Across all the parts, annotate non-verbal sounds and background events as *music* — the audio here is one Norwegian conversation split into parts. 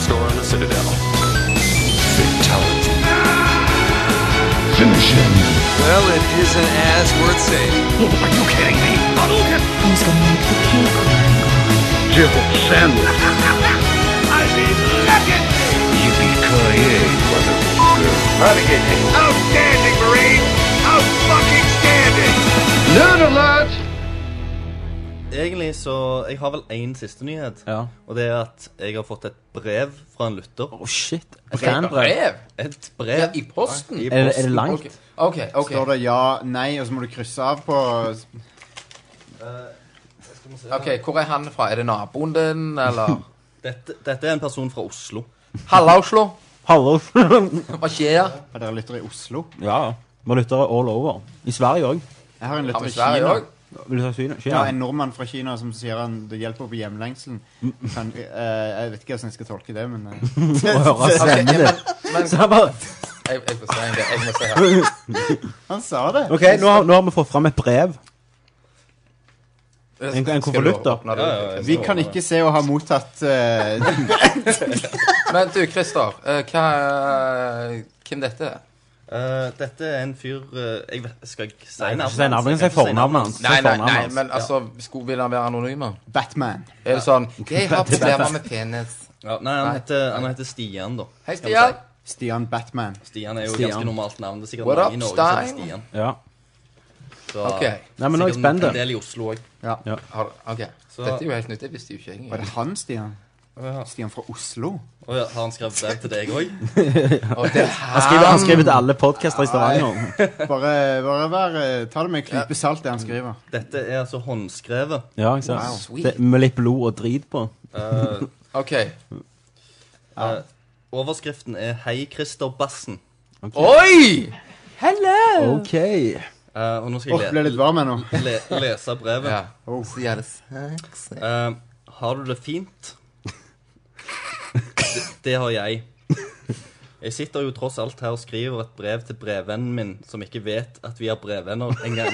Citadel. Fatality. Finish him. Well, it isn't as worth saving. Are you kidding me? Who's gonna make the cake Jibble sandwich. Yippee-ki-yay, motherfucker. Outstanding, Marine! Out fucking standing! Nerd alert! Egentlig så Jeg har vel én siste nyhet. Ja. Og det er at jeg har fått et brev fra en lytter. Å, shit. Fanbrev. Brev? Et Ja, brev I posten? Er, det- er det langt? Ok, ok. ok. Står det ja, nei, og så må du krysse av på Ok, Hvor er han fra? Er det naboen din, eller? dette, dette er en person fra Oslo. Halla, Oslo. Hallo. Hva skjer? Er dere lyttere i Oslo? *laughs* ja. Vi har lyttere all over. I Sverige òg. Jeg har en Har vi lytter i Sverige Kina. òg? Vil du ta Kina? Ja, Kina? en nordmann fra Kina som sier han det hjelper på hjemlengselen. Kan, eh, jeg vet ikke hvordan jeg skal tolke det, men eh, Å høre stemmen din. Så han bare Jeg, jeg må se en gang, jeg må se her. han sa det. OK, nå har, nå har vi fått fram et brev. En- en Skal du konvolutt, da. åpne det? Vi kan ikke se å ha mottatt eh, Men du, Christer. eh, Hva, hvem dette er? Eh, dette er en fyr eh, jeg vet, Skal jeg si Nei, navnet? ikke si navnet, si fornavnet hans. Nei, nei, fornavnet nei, hans. men altså, skulle vil han være anonym? da? Batman. Er det sånn 'Jeg har problemer med penis'. Ja, nei, han Nei. heter, han heter Stian, da. Hei, Stian. Stian Batman. Stian er jo Stian. ganske normalt navn. Det er sikkert What mange up, i Norge som heter Stein? Stian. Ja. Så eh, Ok. Nei, men nå er jeg sikkert spent. en del i Oslo òg. Har, ok. Dette er jo helt nytt. Det visste jo ikke jeg. Var egentlig. det han, Stian? Stian fra Oslo? Å ja, har han skrevet brev til deg *laughs* òg? Og det Han skriver, han skriver til alle podcaster i Stavanger. Bare, bare vær, eh, ta det med en klype salt, det han skriver. Dette er altså håndskrevet. Ja, ikke Wow. sant? Sweet. Det, med litt blod og drit på. Eh, OK. eh, overskriften er 'Hei, Christer Bassen'. Oi! OK. Eh, og nå skal Åh, jeg ble le litt varm ennå. le lese brevet. Ja. Så gjør det sexy. Eh, har du det fint? Det, det har jeg. Jeg sitter jo tross alt her og skriver et brev til brevvennen min, som ikke vet at vi er brevvenner engang.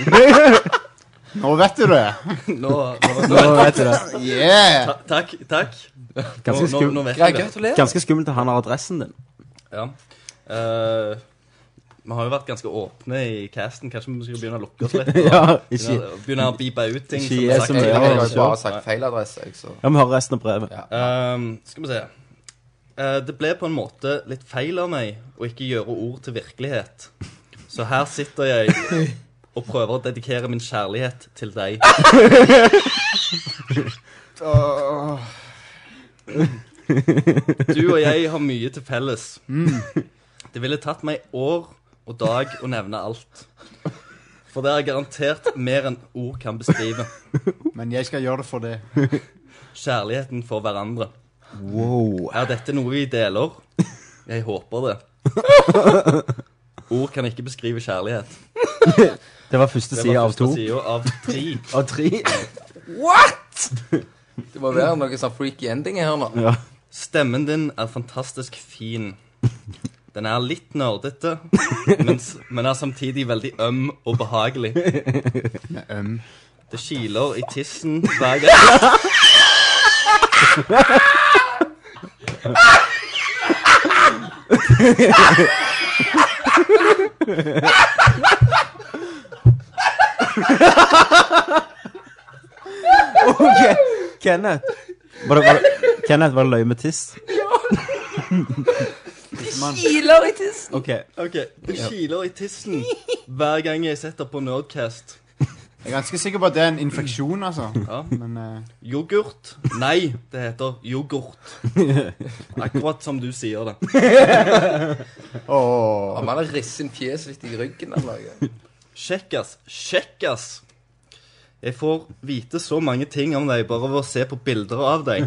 Nå vet du det. Nå, nå, Nå vet du det. Yeah! ta- takk. takk. Nå, Ganske, nå, skum, nå vet Ja, jeg det. gratulerer. ganske skummelt at han har adressen din. Ja. Eh, vi har jo vært ganske åpne i casten. Kanskje vi skal begynne å lukke oss litt? Og *laughs* Ja, ikke. begynne, begynne å beepe ut ting. Ikke som vi jeg har sagt som Jeg, jeg tidligere. Ja, har jo sure. bare sagt feil adresse, jeg, så Ja, Vi hører resten av brevet. ja. Ehm, skal vi se. Eh, det ble på en måte litt feil av meg å ikke gjøre ord til virkelighet. Så her sitter jeg og prøver å dedikere min kjærlighet til deg. Du og jeg har mye til felles. Det ville tatt meg år og dag å nevne alt. For det er garantert mer enn ord kan beskrive. Men jeg skal gjøre det for det. Kjærligheten for hverandre. Wow. Er dette noe vi deler? Jeg håper det. Ord kan ikke beskrive kjærlighet. Det var første Det side var av to. første sida av tre. Av tre. Det må være noe sånn freaky ending her nå. *laughs* Ja. Stemmen din er fantastisk fin. Den er litt nerdete, men, men er samtidig veldig øm og behagelig. øm. Det kiler i tissen hver gang OK. Kenneth. Var det, var det, Kenneth, var det løye med *laughs* tiss? Kiler i tissen. OK. Ok, Det kiler i tissen hver gang jeg setter på Nerdcast. Jeg er ganske sikker på at det er en infeksjon, altså. Ja. Men eh, Yoghurt? Nei, det heter yoghurt. Akkurat som du sier det. åh. Om han har risset fjeset litt i ryggen eller noe. Kjekkas, kjekkas Jeg får vite så mange ting om deg Bare ved å se på bilder av deg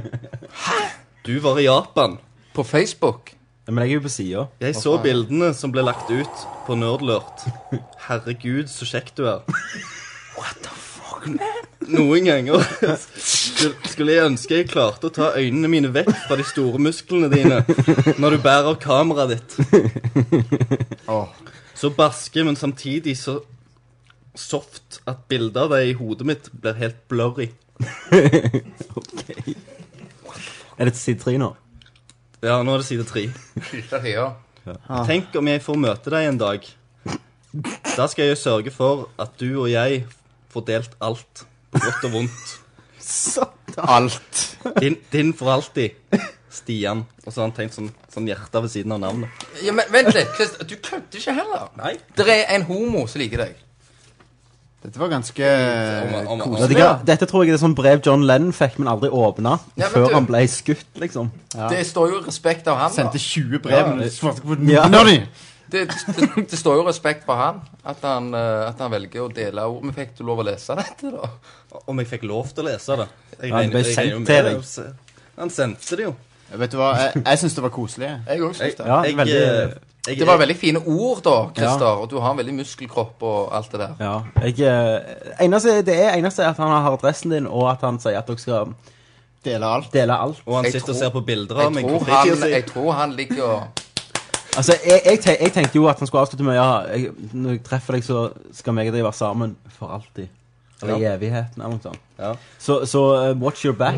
Du var i Japan På Facebook. Ja, Men jeg er jo på sida. Jeg så bildene som ble lagt ut på Nerdlurt *laughs* Herregud, så kjekk du er What the fuck, man? Noen ganger skulle- skulle jeg ønske jeg klarte å ta øynene mine vekk fra de store musklene dine Når du bærer kameraet ditt Åh. Så baske, men samtidig så soft at bildet av deg i hodet mitt blir helt blurry. Er det side tre nå? Ja, nå er det side tre. Fire tider. Tenk om jeg får møte deg en dag. Da skal jeg sørge for at du og jeg får delt alt, på godt og vondt. Alt. Din, din for alltid, Stian. Og så har han tenkt sånn, sånn hjerte ved siden av navnet. Ja, men Vent litt, Christer. Du kødder ikke heller. Nei. Det er en homo som liker deg. Dette var ganske Om, om, om, Vet du hva? Dette tror jeg er sånn brev John Lennon fikk, men aldri åpna. Ja, men før du- han ble skutt, liksom. Det står jo respekt av han. da. Sendte 20 brev, men du svarte ikke på noen Ja. av de. Det, det, det står jo respekt for han. At han, eh, at han velger å dele ord. Men fikk du lov å lese dette, da? om jeg fikk lov til å lese det. Jeg Ja, det regner- ble jeg sendt regner med til det, deg. altså. Han sendte det jo. Vet du hva, jeg, jeg syns det var koselig. Jeg òg syns det. Ja, Jeg, veldig eh, jeg- Det var veldig fine ord, da, Christer. Og du har en veldig muskelkropp og alt det der. Ja. Jeg, eh, eneste, det er eneste er at han har adressen din, og at han sier at dere skal Dele alt. dele alt. Og han Jeg sitter og tror- ser på bilder av Jeg meg. på tror han, fritiden sin. jeg tror han ligger og Altså, jeg, jeg, te- jeg tenkte jo at han skulle avslutte med ja, jeg, når jeg treffer deg, så skal meg og deg være sammen for alltid. Eller i evigheten, eller noe sånt. Ja. Så, så eh, watch your back.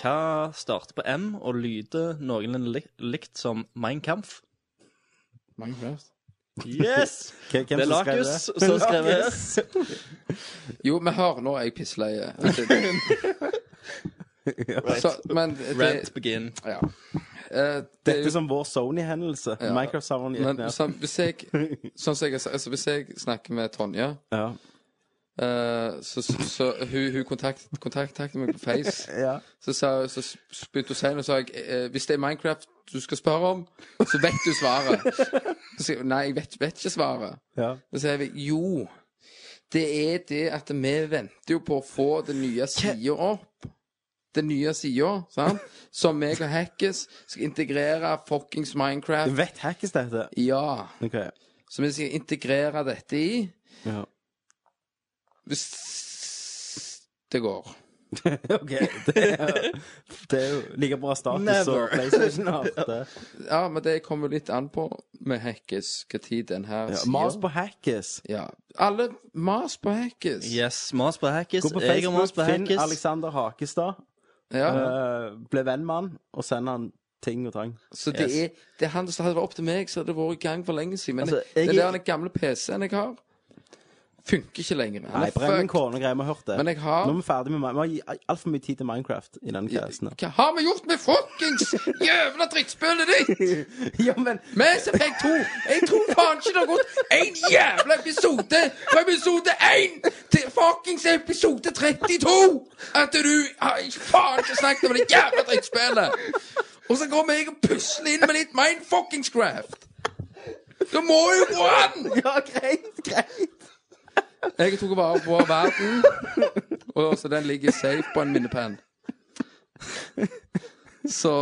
Hva starter på M og lyder noenlunde lik- likt som Mein Kampf? Yes! Det er Lakus som skrev det. Jo, vi har nå er jeg pisseleie. Så, men det, Rant begin. ja. Eh, det er Dette jo, er som vår Sony-hendelse. Ja. Microsoft-savn gikk men ned. sånn, hvis, jeg, sånn som jeg, har sagt, altså, hvis jeg snakker med Tonje Ja. eh, så, så, så hun, hun kontakt, kontaktet meg på Face. Ja. Så, sa, så s- begynte hun å si noe, så sa jeg eh, hvis det er Minecraft du skal spørre om, så vet du svaret. Så sier hun nei, jeg vet, vet ikke svaret. Ja. Så sier vi jo, det er det at vi venter jo på å få den nye sida opp. Den nye sida, sant? Som meg og Hackes skal integrere fuckings Du Minecraft. vet hackes dette. Ja. Ok. Som vi skal integrere dette i. Ja. Hvis det går. ok. Det er, det er jo like bra status som PlayStation har. Det. Ja, men det kommer jo litt an på med Hackes hva tid den her Ja. siden- Mas på hackes. Ja. Alle mas på Hackes. Yes, mas på hackis. Gå på Jeg er mas Facebook, på finn hackis. Alexander Hakestad. Ja. eh, ble venn med han, og send han ting og trang. Så det er, det er han som hadde det vært opp til meg, så hadde det vært i gang for lenge siden. Men Altså, det, jeg- det der den gamle PC-en jeg har, funker ikke lenger. Han er Nei, brenn en fucked. kone og greier, vi har hørt det. Men jeg har- Nå er vi ferdig med Vi har gitt altfor mye tid til Minecraft i denne *laughs* casten. Hva har vi gjort med fuckings jævla drittspillet ditt? *laughs* ja, men Mass Effect 2. Jeg tror faen ikke det har gått én jævla episode fra episode 1 til fuckings episode 32 at du har ikke- faen ikke snakket om det jævla drittspillet. Og så kommer jeg og pusler inn med litt mindfuckingscraft. Det må jo gå an! Ja, greit, greit. Jeg tok vare på verden, og så den ligger safe på en minnepenn. Så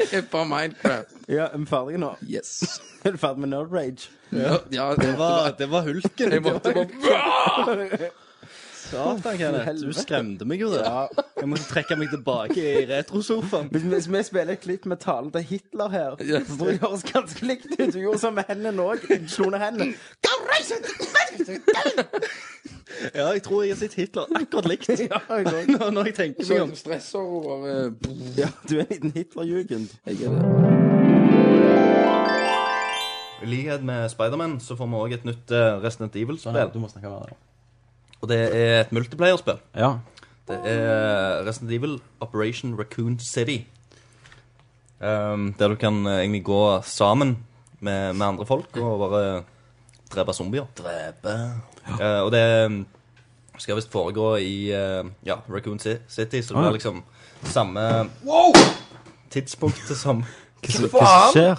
Det er bare Minecraft. Ja, er vi ferdige nå? Yes. Er du ferdig med Nerd Rage? Ja, ja det var Det var hulken. Jeg måtte bare Satan, Kenneth. Du skremte meg jo der. Jeg måtte trekke meg tilbake i retrosofaen. Hvis vi, hvis vi spiller et klipp med talen til Hitler her, Ja. så tror jeg det høres ganske likt ut. Du gjorde som med hendene òg. Slo ned hendene. Ja, jeg tror jeg har sett Hitler akkurat likt. Ja, jeg òg. Når når jeg tenker meg om. Så stressord og eh, Ja, du er en liten Hitlerjugend. I likhet med Spiderman så får vi òg et nytt eh, Resident Evil-spill. må snakke med deg. Og det er et multiplayerspill. Ja. Det er Eh, Resident Evil Operation Raccoon City. Ehm, der du kan eh, egentlig gå sammen med, med andre folk og bare drepe zombier. Drepe. og det mm, skal visst foregå i eh, ja, Raccoon Ci- City, så det ja. blir liksom samme tidspunktet som Hva som skjer?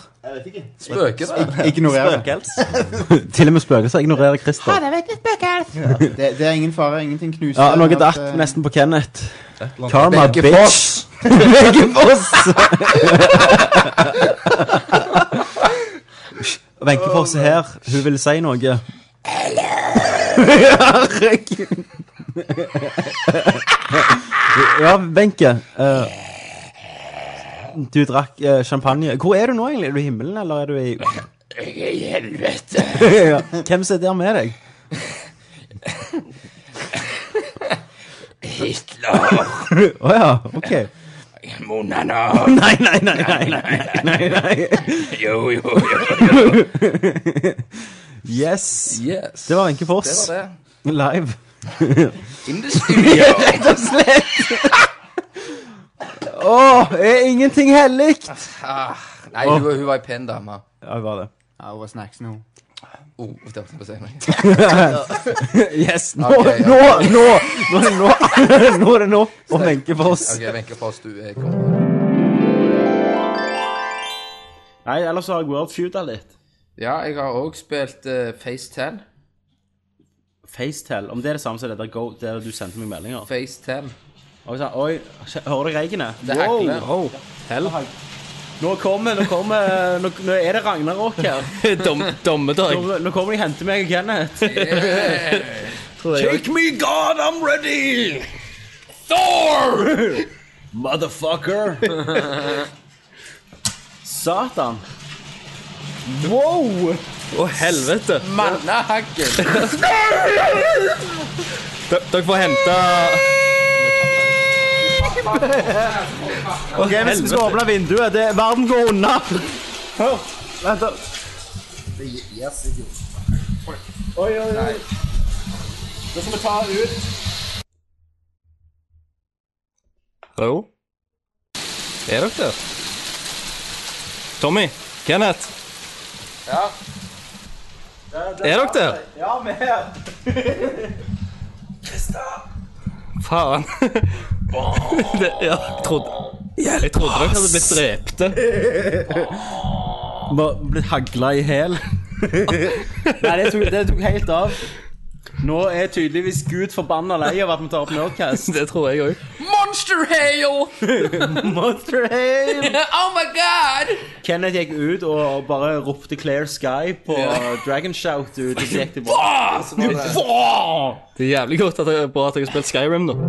spøker det. Ignorer det. Spøkels. Til og med spøkelser ignorerer Christer. det. Det er ingen fare, ingenting knuser. Ja, noe men at, datt eh, nesten på Kenneth. Et eller annet. Karma, Begge bitch. Begge foss. Wenche Foss er her. Hun vil si noe. Herregud. ja, Wenche. eh, du drakk eh, champagne. Hvor er du nå, egentlig? Er du i himmelen, eller er du i Jeg er i helvete. ja. Hvem sitter der med deg? titler. Å ja, OK. Monana. Nei, nei, nei, nei, nei, nei, nei. Jo, jo, jo. jo. Yes. Yes. Det var Wenche Foss. Det var *laughs* Live. In the studio. Rett og slett. *laughs* Åh, er ingenting hellig? Ah, nei, hun, hun var ei pen dame. Ja, det var det. Ja, hun var snacks nå. Oh, det var ikke noe. Yes, nå, Ok, nå, nå, nå, er det nå, *laughs* nå er det nå om Wenche Foss. Ok, Wenche Foss, du er kommet. Nei, ellers har jeg wordfeuda litt. Ja, jeg har òg spilt eh, FaceTel. FaceTell, om det er det samme som det der, go, der du sendte meg meldinger. FaceTel. Og jeg sa, oi, kje- hører du reggene? Det er ekle. wow. Hell. Nå kommer, nå kommer, nå, nå er det Ragnarok *laughs* her. Dom, dommedag. Nå, nå kommer de og henter meg og Kenneth. Tror jeg Take me, God, I'm ready! Motherfucker! *laughs* Satan. Wow! Å, helvete. Mannehaggen. D dere får hente Ok, vi skal åpne vinduet. Det, verden går unna. Hør, vent da. Oi, oi, oi. Nå skal vi ta ut. Hallo? Er dere der? Tommy? Kenneth? Er dere der? Ja, vi er her. Faen. *laughs* Det, ja, jeg trodde Jeg trodde dere hadde blitt drepte. Vi har blitt hagla i hæl. *laughs* Nei, det tok, det tok helt av. Nå er tydeligvis Gud forbanna lei av at vi tar opp *laughs* Nerdcast. Det tror jeg òg. Monster hail! Monster Hail! Oh my god! Kenneth gikk ut og bare ropte Clear Sky på Dragon Shout ut, og så gikk de bort. Det er jævlig godt at det er bra at jeg har spilt Skyrim, da.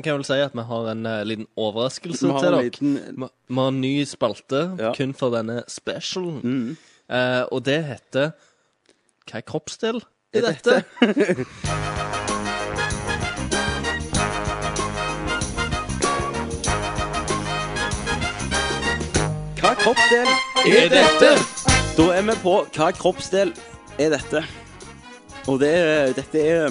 Vi kan vel si at vi har en eh, liten overraskelse Vi har til en dere. liten- Vi vi har en ny spalte Ja. Mm. kun for denne specialen. Eh, og det heter Hva er kroppsdel i dette? Hva kroppsdel Er dette? Da er vi på hva kroppsdel er dette? Og det er Dette er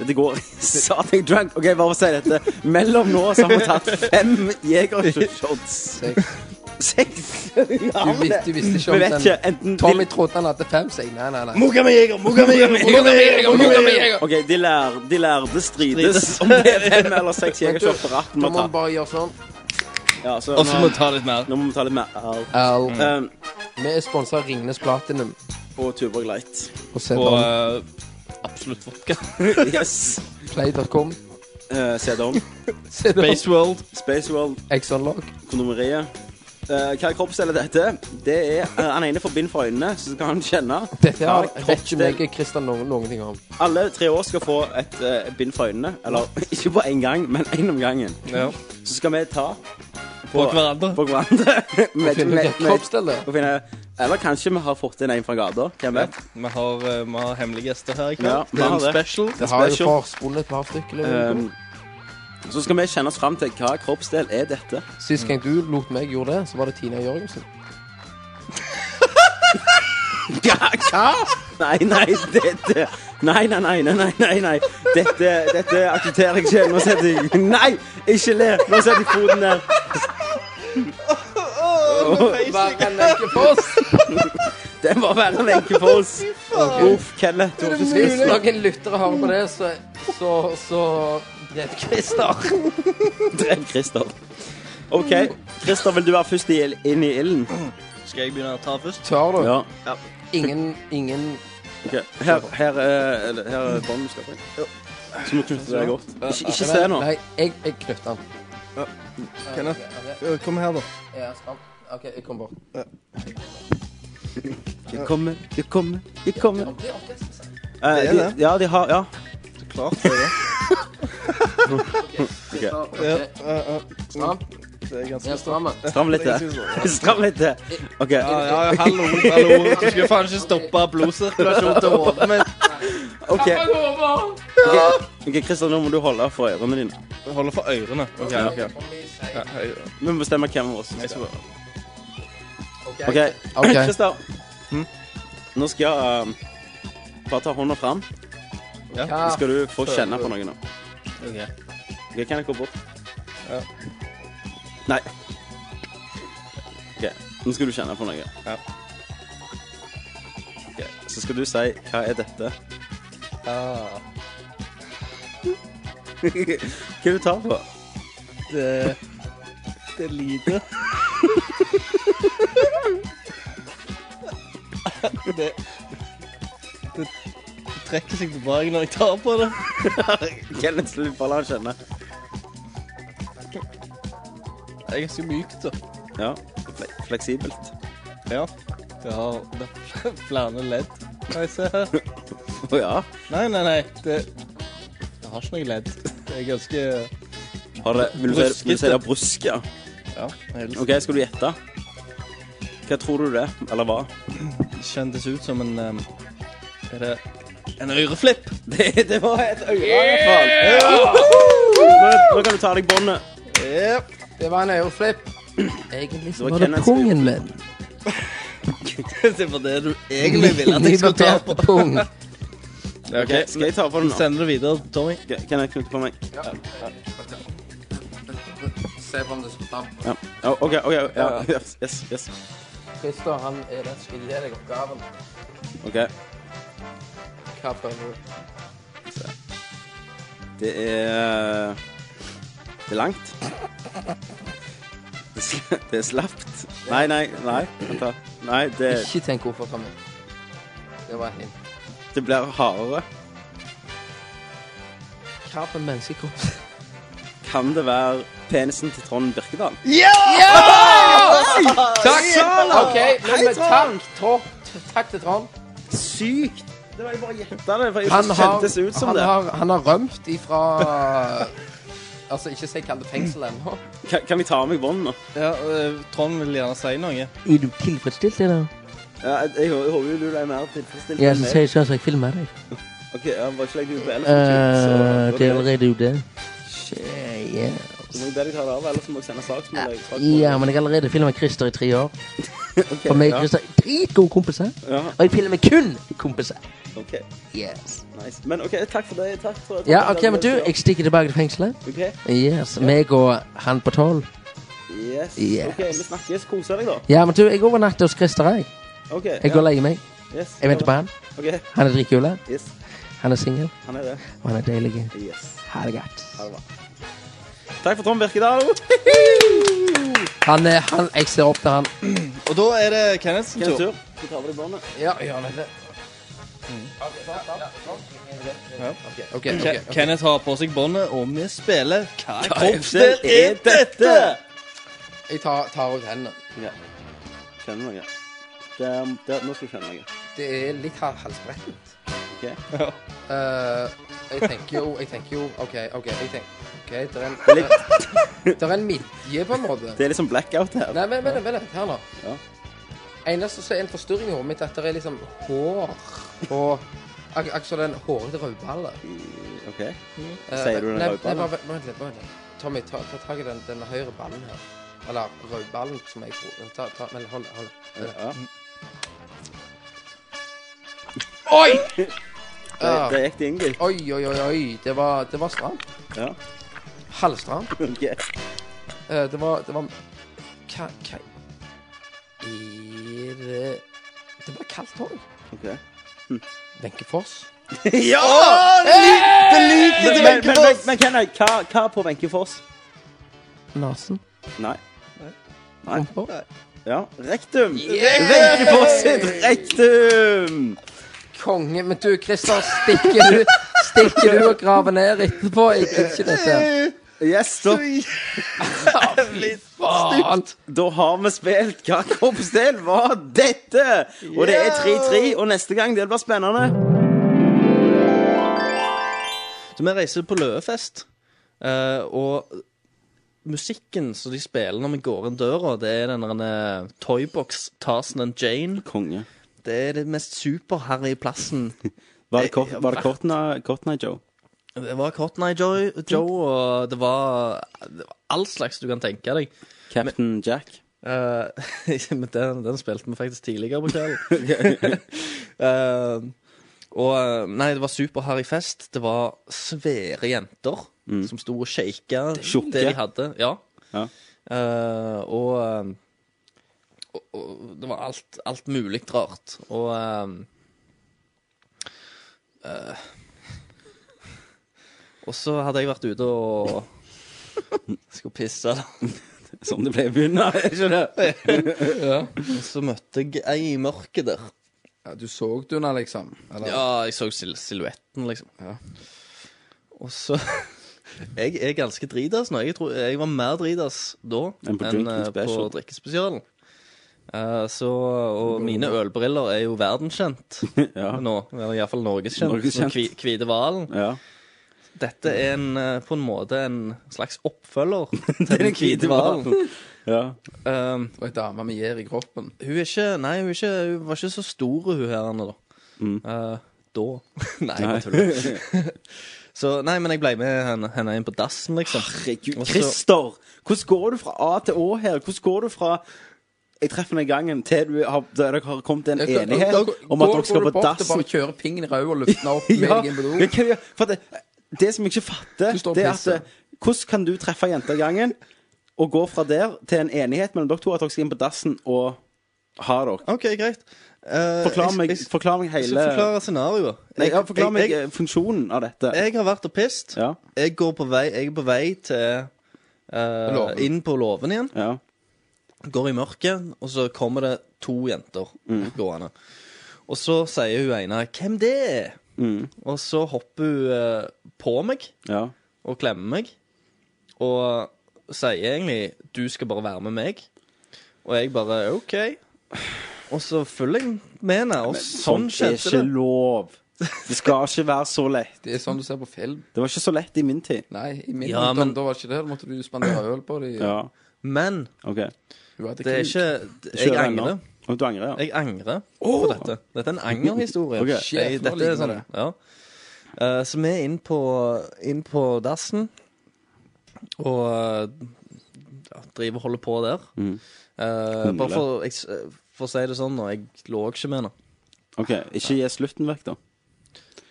Dette går *laughs* Satan, jeg er drunk. OK, bare for å si dette. Mellom nå så har vi tatt fem jegershots. Seks. Du, vis, du visste ikke Vi om vet ikke. Enten Tommy trodde han hadde fem, så jeg nei, nei, nei. OK, de, lær, de lærde strides om det er fem eller seks jegershots på ratten. Nå må må ta. du bare gjøre sånn. Ja, så Og så må nå, vi ta litt mer. nå må vi ta litt mer av. Au. Um, Vi er sponsa av Ringnes Platinum. og Tuborg *laughs* Light. Og Og sender eh, absolutt vodka. Yes. play.com. Uh, CD-on. Space World. Space World. Exonlog. kondomeriet. Eh, hva er kroppsdel er dette? Det er eh, Han ene får bind for øynene, så skal han kjenne. Dette har Hva er vet ikke kroppsdel? meg og Kristian noen, noen ting om. Alle tre år skal få et eh, bind for øynene. Eller *laughs* ikke på én gang, men én om gangen. Ja. Så skal vi ta På hverandre. på hverandre. Med- Finner med- du med- kroppsstellet? og finne- Eller kanskje vi har fått inn en fra gata. Hvem vet? Vi har, eh, vi har hemmelige gjester her i Ja, kveld. vi det er har en det. special. Eh, Det har jo Special. forspunnet et par stykker. eller noe. Um, så skal vi kjenne oss fram til hva kroppsdel er dette. Sist gang du lot meg gjøre det, så var det Tina Jørgensen. *laughs* Nei, nei, dette Nei, nei, nei, nei, nei, nei, nei. Dette, dette aksepterer jeg ikke. Nå setter jeg Nei, ikke le! Nå setter jeg foten ned. Den var verre enn Wenche Foss. Uff, Kenneth. du har ikke *laughs* Hvis spist nok. noen lyttere hører på det, så Så, så Drept Christer. Drev Christer. OK, Christer, vil du være først i, inn i ilden? Skal jeg begynne å ta først? Tør du? Ja. Ingen, ingen ok. Her, her er eller, Her er båndet du skal få inn. Så må du knytte deg godt. Ikke, ikke se nå. Nei, jeg, jeg knytter den. Kenneth, eh, kom her, da. Ja, sant. OK, jeg kommer bort. Jeg kommer, jeg kommer, jeg kommer. Det er orkester. Eh, er de, ja, de har Ja. Klart det er det. *laughs* Okay. Stram. Det er ganske Ja, stramme. Stram litt til. *laughs* Stram litt til. OK. Ja, ja, hallo, hallo. Du skulle faen ikke stoppe blodsirkulasjonen til hodet mitt. OK, Han lover. ok, Ok, Christer, nå må du holde for ørene dine. Holde for ørene. Ok, ok. Ja, jeg- Vi må bestemme hvem av oss som jeg skal skal- OK. Ok. *laughs* Christer. Nå skal jeg um, bare ta hånda fram. Ja. Så skal du få kjenne på noe nå. Ok. Ok, kan jeg gå bort? Ja. Nei. OK, nå skal du kjenne på noe. Ja. Ok, Så skal du si 'Hva er dette?' Ah, *laughs* Hva er det du tar på? det Det er lite. Det Det trekker seg tilbake når jeg tar på det. Kenneth, slutt bare la han kjenne. Det er ganske mykt, da. Ja, fle- fleksibelt. Ja. Det har, det har flere ledd. Nei, se her. Å ja. Nei, nei, nei. Det, det har ikke noe ledd. Det er ganske Har det, vil, du si, vil du si det er Bruskete. brusk, ja? Ja, helt OK, skal du gjette? Hva tror du det er, eller hva? kjentes ut som en um, Er det en *laughs* øreflipp? Det, det var et øre, i hvert fall. Nå, nå kan du ta av deg båndet. Det var en øreflipp. Egentlig Det var Kenneths pungen min. det var det du egentlig ville at jeg skulle ta på. pung. Ok, Skal jeg ta på den nå? Sender det videre til Tommy. Ok, Kan jeg knytte på meg? Se på om det skal ta Ja. Ja, OK. ok, ja, yes, yes, yes. Christer, han er den som skal gi deg oppgaven. OK. Hva prøver du? Det er Det er langt. Det skal- Det er slapt. Nei, nei, nei. Vent, da. Nei, det Ikke tenk hvorfor, Tommy. Det var helt Det blir hardere. Hva for en menneskekropp? Kan det være penisen til Trond Birkedal? Takk! OK, nå er vi tank. Tråk. Takk til Trond. Sykt! Det var jeg bare gjetta det, for jeg Han har, kjentes ut som han det. har, han har rømt ifra Altså, ikke si kall det fengsel ennå. Kan, kan vi ta av meg båndet nå? Ja, eh, Trond vil gjerne si noe. Er du tilfredsstilt, eller? Ja, jeg, jeg, hå- håper jo du er mer tilfredsstilt Ja, enn så meg. sier jeg sånn at jeg filmer deg. Ok, ja, bare ikke legg deg ut på ellers. Eh, så- det ok. var det du det. Shit, yeah. Så må jeg be deg ta det av, ellers må jeg sende saksmål. Ja, men jeg har allerede filmet Christer i tre år. For meg og ja. Christer er dritgode kompiser. Ja, Og jeg filmer kun kompiser. ok. Yes. Nice. Men ok, takk for det. Takk for Ja, ok, men du, jeg stikker tilbake til fengselet. Ok, Yes, meg og han på tolv. yes. Yes. Ok, vi snakkes. Kose deg da. Ja, men du, jeg overnatter hos Christer, jeg. Ok. Jeg går og leier meg. Yes. Jeg venter på han. Ok, Han er dritkul, yes. han er singel, Han er det. og han er deilig. Yes. Ha det godt. Ha det bra. Takk for Trond Birkedal. Han er han Jeg ser opp til han. Og da er det Kenneths Kenneth tur. Tur. Skal du ta på deg båndet? Mm. Ja, gjør han det. OK. ok, Ke- ok. Kenneth har på seg båndet, og vi spiller Hva er Det kroppsdel er dette! Jeg tar, tar ut hendene. Kjenner noe. Der, der, nå skal du kjenne noe. Det er litt hal- halsbrettent. Ok. Eh, jeg tenker jo Jeg tenker jo OK, OK. jeg tenker, ok, Det er en, Det er litt, det er en midje, på en måte. det er litt sånn blackout her. Nei, men vent litt, vent litt. Her nå. Ja. Eneste som er en forstyrring i hodet mitt, er at det er liksom hår på *laughs* ak- Akkurat som den hårete rødballe. Mm. Ok. Sier du den Nei, rødballen? Nei, bare vent- vent litt. Vent litt. Tommy, ta, ta tak i den, den høyre ballen her. Eller rødballen, som jeg tror. Ta, ta, men hold, hold. Ja. Oi! Der, der gikk det inn, gutt. Oi, oi, oi, oi. Det var, det var stramt. Ja. Halvstramt. Ok. Eh, det var, det var Hva, hva Er det Det var kaldt hår. *laughs* Ok. Wenche Foss. Ja! Det liker til Wenche Foss. Men Kenneth, hva, hva på Wenche Foss? Nasen. Nei. Nei. Rumpa. Ja. Rektum. Wenche Foss sitt rektum. Konge. Men du, Christer, stikker du, *laughs* stikker du og graver ned etterpå? Jeg gidder ikke dette. Yes, da, Faen. da har vi spilt Hva kroppsdel var dette? Og det er 3-3, og neste gang det blir spennende. Så vi reiser på Løvefest, eh, og musikken som de spiller når vi går inn døra, det er den derne Toybox Tarzan and Jane. Konge. Det er det mest superharry plassen Var det, kort, var det Cotton Eye- Cotton Eye Joe? Det var Cotton Eye Joe, Joe og det var, det var all slags du kan tenke deg. Captain Jack? Eh, *laughs* men den, den spilte vi faktisk tidligere på *laughs* kvelden. Eh, og eh, Nei, det var super-harry fest. Det var svære jenter som sto og shaka Tjukke. Mm. det de hadde. Ja. Ja. Eh, og, eh, og, og det var alt, alt mulig rart. Og eh, eh, *laughs* Og så hadde jeg vært ute og *laughs* skulle pisse. da. Sånn det ble i bunnen, er ikke det? ja. Og så møtte jeg ei i mørket der. Ja, du så du henne, liksom? Eller? Ja, jeg så sil silhuetten, liksom. Og så *laughs* Jeg er ganske dritas nå. Jeg, tror, jeg var mer dritas da Enn på enn drinking eh, på special. drikkespesialen. Eh, så, og mine ølbriller er jo *laughs* verdenskjent nå. Eller iallfall norgeskjent. Norgeskjent. som Kvi, Kvite Hvalen. Ja. Dette er en, eh, på en måte en slags *laughs* oppfølger til er Den hvite *laughs* hvalen. Ja. Um, Det var ei dame med gjær i kroppen. Hun er ikke Nei, hun, er ikke, hun var ikke så stor, hun her nå, da. Eh, da. *laughs* nei, Mm. Nei. bare tuller. *laughs* så Nei, men jeg ble med henne, henne inn på dassen, liksom. Herregud, Og så- Christer! Hvordan går du fra A til Å her? Hvordan går du fra jeg treffer deg i gangen, til du har, der dere har kommet til en Da- da- da- enighet om at går- dere skal går du på bort og *laughs* dassen? Bare kjøre pingen i ræva og lufte den *laughs* opp med Ja, deg inn på do. men hva gjør- for det, det som jeg ikke fatter, står og det er at pisser. eh, hvordan kan du treffe jenter i gangen og gå fra der til en enighet mellom dere to at dere skal inn på dassen og ha dere? OK, greit. Eh, Forklar jeg- meg, jeg- forklar meg Jeg hele skal forklare scenarioet. Nei, ja, forklar meg jeg, eh, funksjonen av dette. jeg, jeg har vært og pist. Ja. Jeg, går på vei, jeg er på vei til eh, låven. Inn på låven igjen. Ja. Går i mørket, og så kommer det to jenter Mm. gående. Og så sier hun ene 'Hvem det er?' Mm. Og så hopper hun eh, på meg Ja. og klemmer meg. Og sier egentlig 'du skal bare være med meg'. Og jeg bare 'OK'. Og så følger jeg med henne. Og sånn er skjedde ikke det. lov. Det skal ikke være så lett. Det er sånn du ser på film. Det var ikke så lett i min tid. Nei, i min Ja, ungdom men- da var det ikke det. Da måtte du spandere øl på dem. Ja, Men ok. Hun hadde det er kuk. ikke Jeg angrer. Og du angrer, ja. Jeg angrer på dette. Dette er en angerhistorie. *laughs* Ok. Jeg, Sjef, nå dette er liker sånn, vi det. ja. Eh, så vi er inn på, inn på dassen og eh, ja, driver og holder på der. Eh, bare for, jeg, s- eh, for å si det sånn, nå, jeg lå ikke med henne. Ok, Ikke gi slutten vekk, da.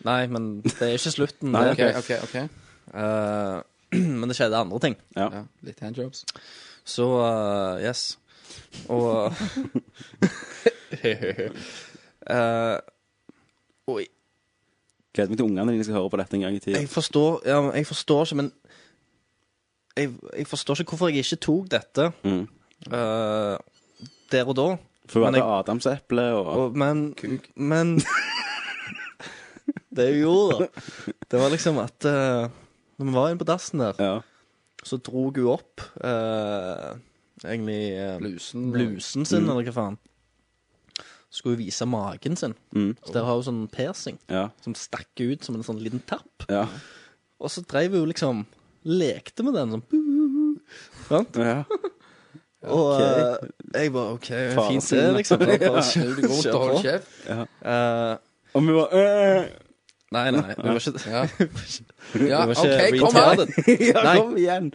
Nei, men det er ikke slutten. Nei, det. OK, OK. ok Eh, *clears throat* men det skjedde andre ting. Ja. Ja, Litt handjobs. Så eh, yes. Og *laughs* Eh, Og Gleder meg til ungene dine skal høre på dette en gang i tida. jeg forstår, ja, men jeg forstår ikke, men jeg, jeg forstår ikke hvorfor jeg ikke tok dette Mm. eh, der og da. For hun men hadde jeg- adamseple og Og, men Men Det jeg gjorde, da, det var liksom at eh, Når vi var inne på dassen der, Ja. så dro hun opp eh, egentlig eh, Blusen. blusen sin, eller hva faen. Skulle hun vise magen sin. Mm. Så der har hun sånn persing Ja. som stakk ut som en sånn liten tapp. Ja. Og så dreiv hun liksom Lekte med den sånn Sant? ja. Og eh, jeg bare OK, fint det, sin. liksom. Bare, bare Snu deg rundt og hold kjør på. kjeft. Eh, Og vi var øh. nei, nei, nei, hun var ikke *laughs* Ja. hun Ja, var OK, ikke kom her. retarded. *laughs* Ja, Nei. kom igjen!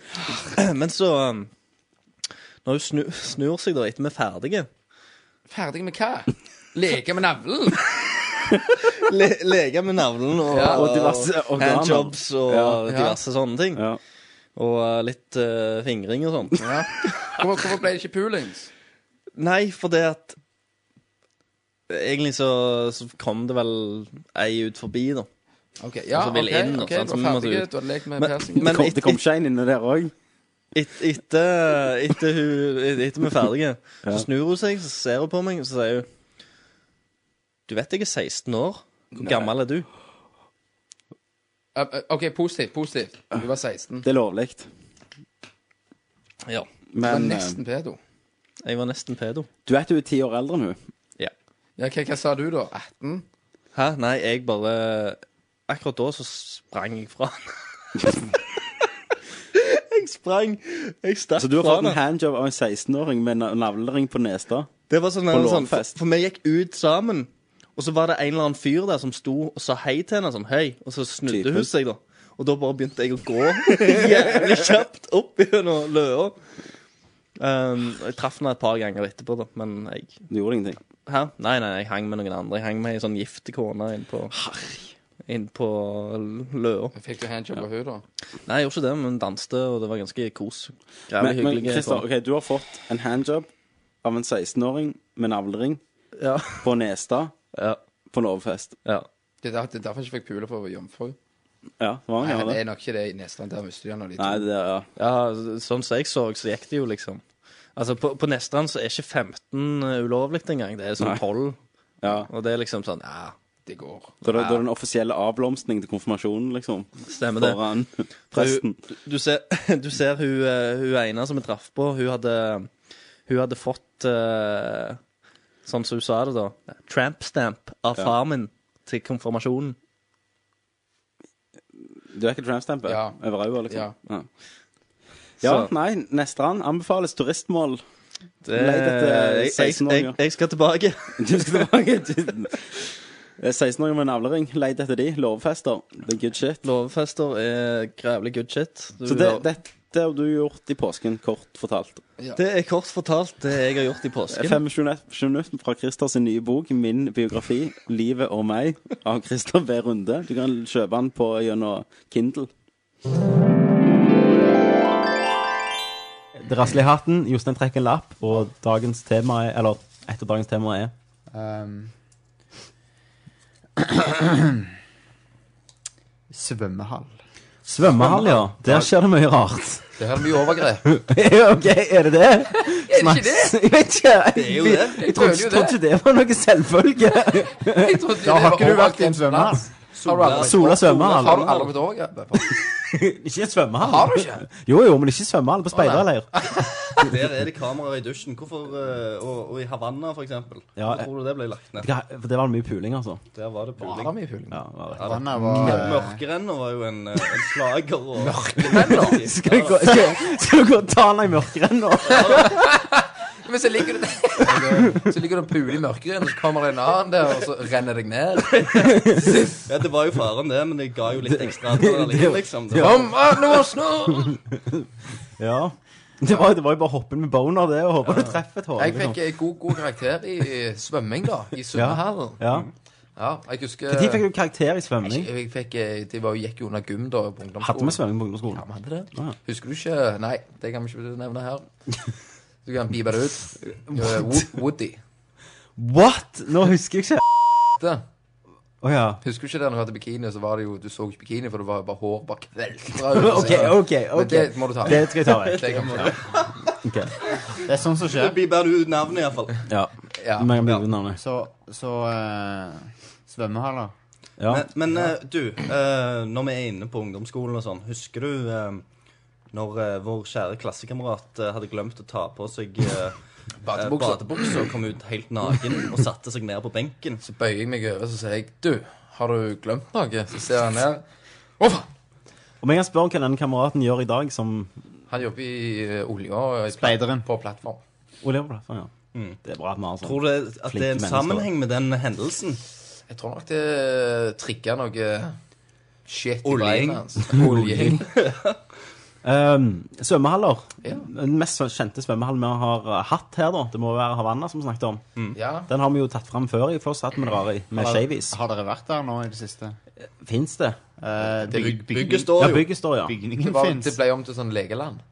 Men så um, Når hun snu, snur seg da etter vi er ferdige Ferdig med hva? Leke med *laughs* navlen? le, Leke med navlen og, Ja, og diverse organer. handjobs og Ja. diverse sånne ting. Ja. Og eh, litt eh, fingring og sånn. Ja. Hvorfor, hvorfor ble det ikke poolings? Nei, for det at Egentlig så, så kom det vel ei ut forbi, da. OK, ja, Og så OK. vil jeg inn, og ok, sånn, Du så var må du ferdig, ut. du hadde lekt med Men- persingen. Det men- kom, det kom ikke en inne der òg. Et, etter, etter, hun, etter vi er ferdige, så Ja. snur hun seg, så ser hun på meg, og så sier hun Du vet jeg er 16 år. Hvor gammel er du? Ja, Eh, OK, positivt. Positivt. Du var 16. Det er lovlig. Ja. Du var Men eh, nesten pedo. Jeg var nesten pedo. du vet hun er ti år eldre enn hun. Ja, hva, hva sa du da? Ah, 18? Hæ? Nei, jeg bare Akkurat da så sprang jeg fra henne. *laughs* *laughs* jeg sprang. Jeg stakk Så du har fra fått en handjob av en 16-åring med na- navlering på nesta. Det var sånn, På sånn for, lånfest. for vi gikk ut sammen, Og så var det en eller annen fyr der som sto og sa hei til henne, som hei, og så snudde Typen. hun seg, da. Og da bare begynte jeg å gå *laughs* jævlig kjapt opp gjennom løa. Um, og jeg traff henne et par ganger etterpå, da, men jeg Du gjorde ingenting? Hæ? Nei, nei, jeg hang med noen andre. Jeg hang med ei sånn gift kone inn på Inn på løa. Fikk du handjob av henne, da? Nei, jeg gjorde ikke det, men danste, og det var ganske kos. Jævlig Men, men hyggelig, Christer, sånn. ok, du har fått en handjob av en 16-åring med navlering på Nestad på Lovfest. Ja. Det er der- det er derfor jeg ikke fikk pule for å være jomfru. det var Nei, han han er gjorde. nok ikke det i Nesland. Der mister de han når de Nei, to. det er, ja. Sånn som jeg så, så gikk det jo liksom Altså, på, på Nestrand så er ikke 15 ulovlig engang. Det er sånn Nei. 12. Ja. Og det er liksom sånn Ja, det går. Da er det da er det den offisielle avblomstringen til konfirmasjonen, liksom. Stemmer det. *laughs* Foran For Hun, presten. du, du ser, *laughs* du ser hun, eh, hun ene som jeg traff på, hun hadde, hun hadde fått eh, Sånn som hun sa det, da. Tramp stamp av Ja. far min til konfirmasjonen. Du er ikke trampstampe? Ja. Over øya, liksom? Ja. ja. Ja, Så- nei, Nestrand anbefales turistmål. Det, Leit etter jeg, jeg, 16-åringer. jeg, jeg skal tilbake. *laughs* *laughs* Du skal tilbake til 16-åringer med navlering. Leit etter de. Lovfester. Det er good shit. Lovfester er grævlig good shit. Du- Så det, dette har du gjort i påsken, kort fortalt. Det er kort fortalt det jeg har gjort i påsken. 25 minutter fra Christer sin nye bok, 'Min biografi. Livet og meg', av Christer B. Runde. Du kan kjøpe den på gjennom Kindle. Det rasler i hatten, Jostein trekker en lapp, og dagens tema er Eller et av dagens temaer er Um, *clears throat* svømmehall. Svømmehall, ja. Der skjer det mye rart. *laughs* Det her er mye overgrep. Ja, OK, er det det? det Snakkes- ikke *laughs* Jeg vet ikke. Det er jo det. Jeg, Jeg trodde, prøver jo trodde ikke det var noe selvfølge. Jeg trodde Da har ikke det var du vært i en overgrep. svømmehall. Nei. Har du aldri- Sola svømmehall. Har du aldri blitt overgrepet? Ikke i svømmehall. Har du ikke? Jo, jo, men ikke i svømmehall. På speiderleir. Der er det kameraer i dusjen. Hvorfor, eh, og, og i Havanna, for eksempel. Ja, Hvor tror du det ble lagt ned? For det var mye puling, altså. Der var det puling. Var det mye puling? Ja, det var det. Ja, Havanna var, eh, Mørkerenna var jo en, eh, en slager. Og... Skal, jeg gå, skal, skal du gå og ta den i mørkerenna? Men så ligger du der *laughs* Så ligger du og puler i mørket, og så kommer det en annen der, og så renner deg ned. Ja, det var jo faren, det, men det ga jo litt ekstra adrenalin, liksom. Det Kom, var... alle må snu! Ja. Det var, det var jo bare å hoppe inn med boner, det, og håpe du treffer et hår. Jeg fikk eh, god, god karakter i i svømming, da. I svømmehallen. Ja. Ja, jeg husker Når fikk du karakter i svømming? Jeg, jeg fikk, eh, de var jo, gikk jo under gym da på ungdomsskolen. Hadde vi svømming på ungdomsskolen? Ja, vi hadde det. Husker du ikke Nei, det kan vi ikke nevne her. Du kan bipe det ut. Eh, Wo- Woody. What?! Nå husker jeg ikke. Det. Å ja. Husker du ikke der når du hadde bikini, så var det jo Du så ikke bikini, for det var jo bare hår bare kveltra *laughs* Ok, ok, Men ok. det må du ta. Det skal jeg ta *laughs* vekk. Det kan du ta. Ok. Det er sånn som skjer. Det blir bare ut navnet, iallfall. Ja. Ja. Men jeg blir uten navnet. Så, så eh, svømmehaller. Men, men eh, du, eh, når vi er inne på ungdomsskolen og sånn, husker du eh, når eh, vår kjære klassekamerat eh, hadde glemt å ta på seg uh, Badebukser. badebukser og kom ut helt naken og satte seg ned på benken? Så bøyer jeg meg over så sier jeg, du, har du glemt noe? Så ser han ned. Å, faen! Om jeg kan spørre hva den kameraten gjør i dag som Han jobber i eh, olja og i pla- på plattform. oljeplattform, Sånn, ja. Mm. Det er bra at vi har sånn. Tror du at det er en sammenheng med den hendelsen? Jeg tror nok det trigger noe shit i Oljing. beina hans. Oljing. Um, svømmehaller. Ja. Den mest kjente svømmehallen vi har uh, hatt her, da. Det må være Havanna, som vi snakket om. Ja. Den har vi jo tatt fram før i Floss at vi drar i, med Mm. Har- shavies. Har dere vært der nå i det siste? Fins det? Eh, Det byg- byg- bygning- bygget står jo. Ja, bygget står, ja. Bygningen Det, var, finnes. det ble om til sånn legeland.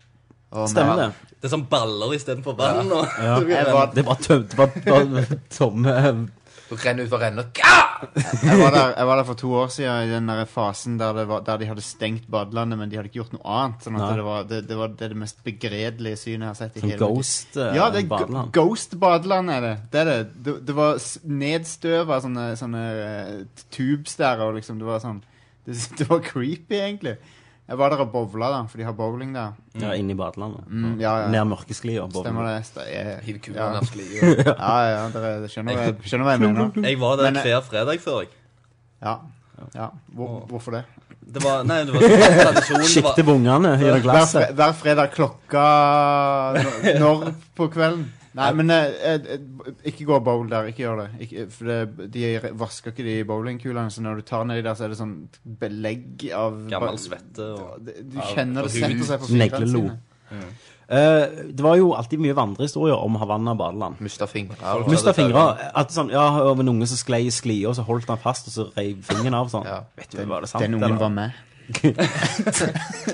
Stemmer det. Det er sånn som baller istedenfor vann. Og, *laughs* Ja. Det blir Det en- var bare tømt. Det var bare tomme um, Renn ut for renner. Gah! jeg, var der, jeg var der for to år siden i den der fasen der, det var, der de hadde stengt badelandet, men de hadde ikke gjort noe annet. Sånn at Nei. det, var, det, det var det, det mest begredelige synet jeg har sett i Sånn hele mitt liv. ghost, eh, Ja, det er badeland. badeland. ghost badeland er det. Det er det. Det, det var s- nedstøva sånne, sånne eh, tubes der, og liksom det var sånn *laughs* Det, det var creepy, egentlig. Jeg var der og bowla, da, for de har bowling der. Ja, inne i badelandet. Mm, ja, ja. Nær mørkesklia. bowling. Stemmer det. St- jeg- Hiv kula ja. ned sklia. Ja, ja, dere skjønner, hva jeg- skjønner hva jeg mener. Jeg var der Men, eh, hver fredag før, jeg. Ja. ja. Hvor, hvorfor det? Det var, nei, det var sånn *laughs* tradisjon. det var- Skikte vungene i det Hver, glasset. fre hver fredag klokka Når på kvelden? Nei, men eh, eh, ikke gå bowl der. Ikke gjør det. Ikke, for det, de vasker ikke de bowlingkulene, så når du tar nedi der, så er det sånn belegg av Gammel svette og Du du kjenner det setter seg på fingrene Neglelo. sine. Eh, det var jo alltid mye vandrehistorier om Havanna badeland. Mista fingre. Mista fingre. At sånn, ja, over en unge som sklei i sklia, så holdt han fast, og så reiv fingeren av. Sånn. Vet du, var det sant? den ungen var med.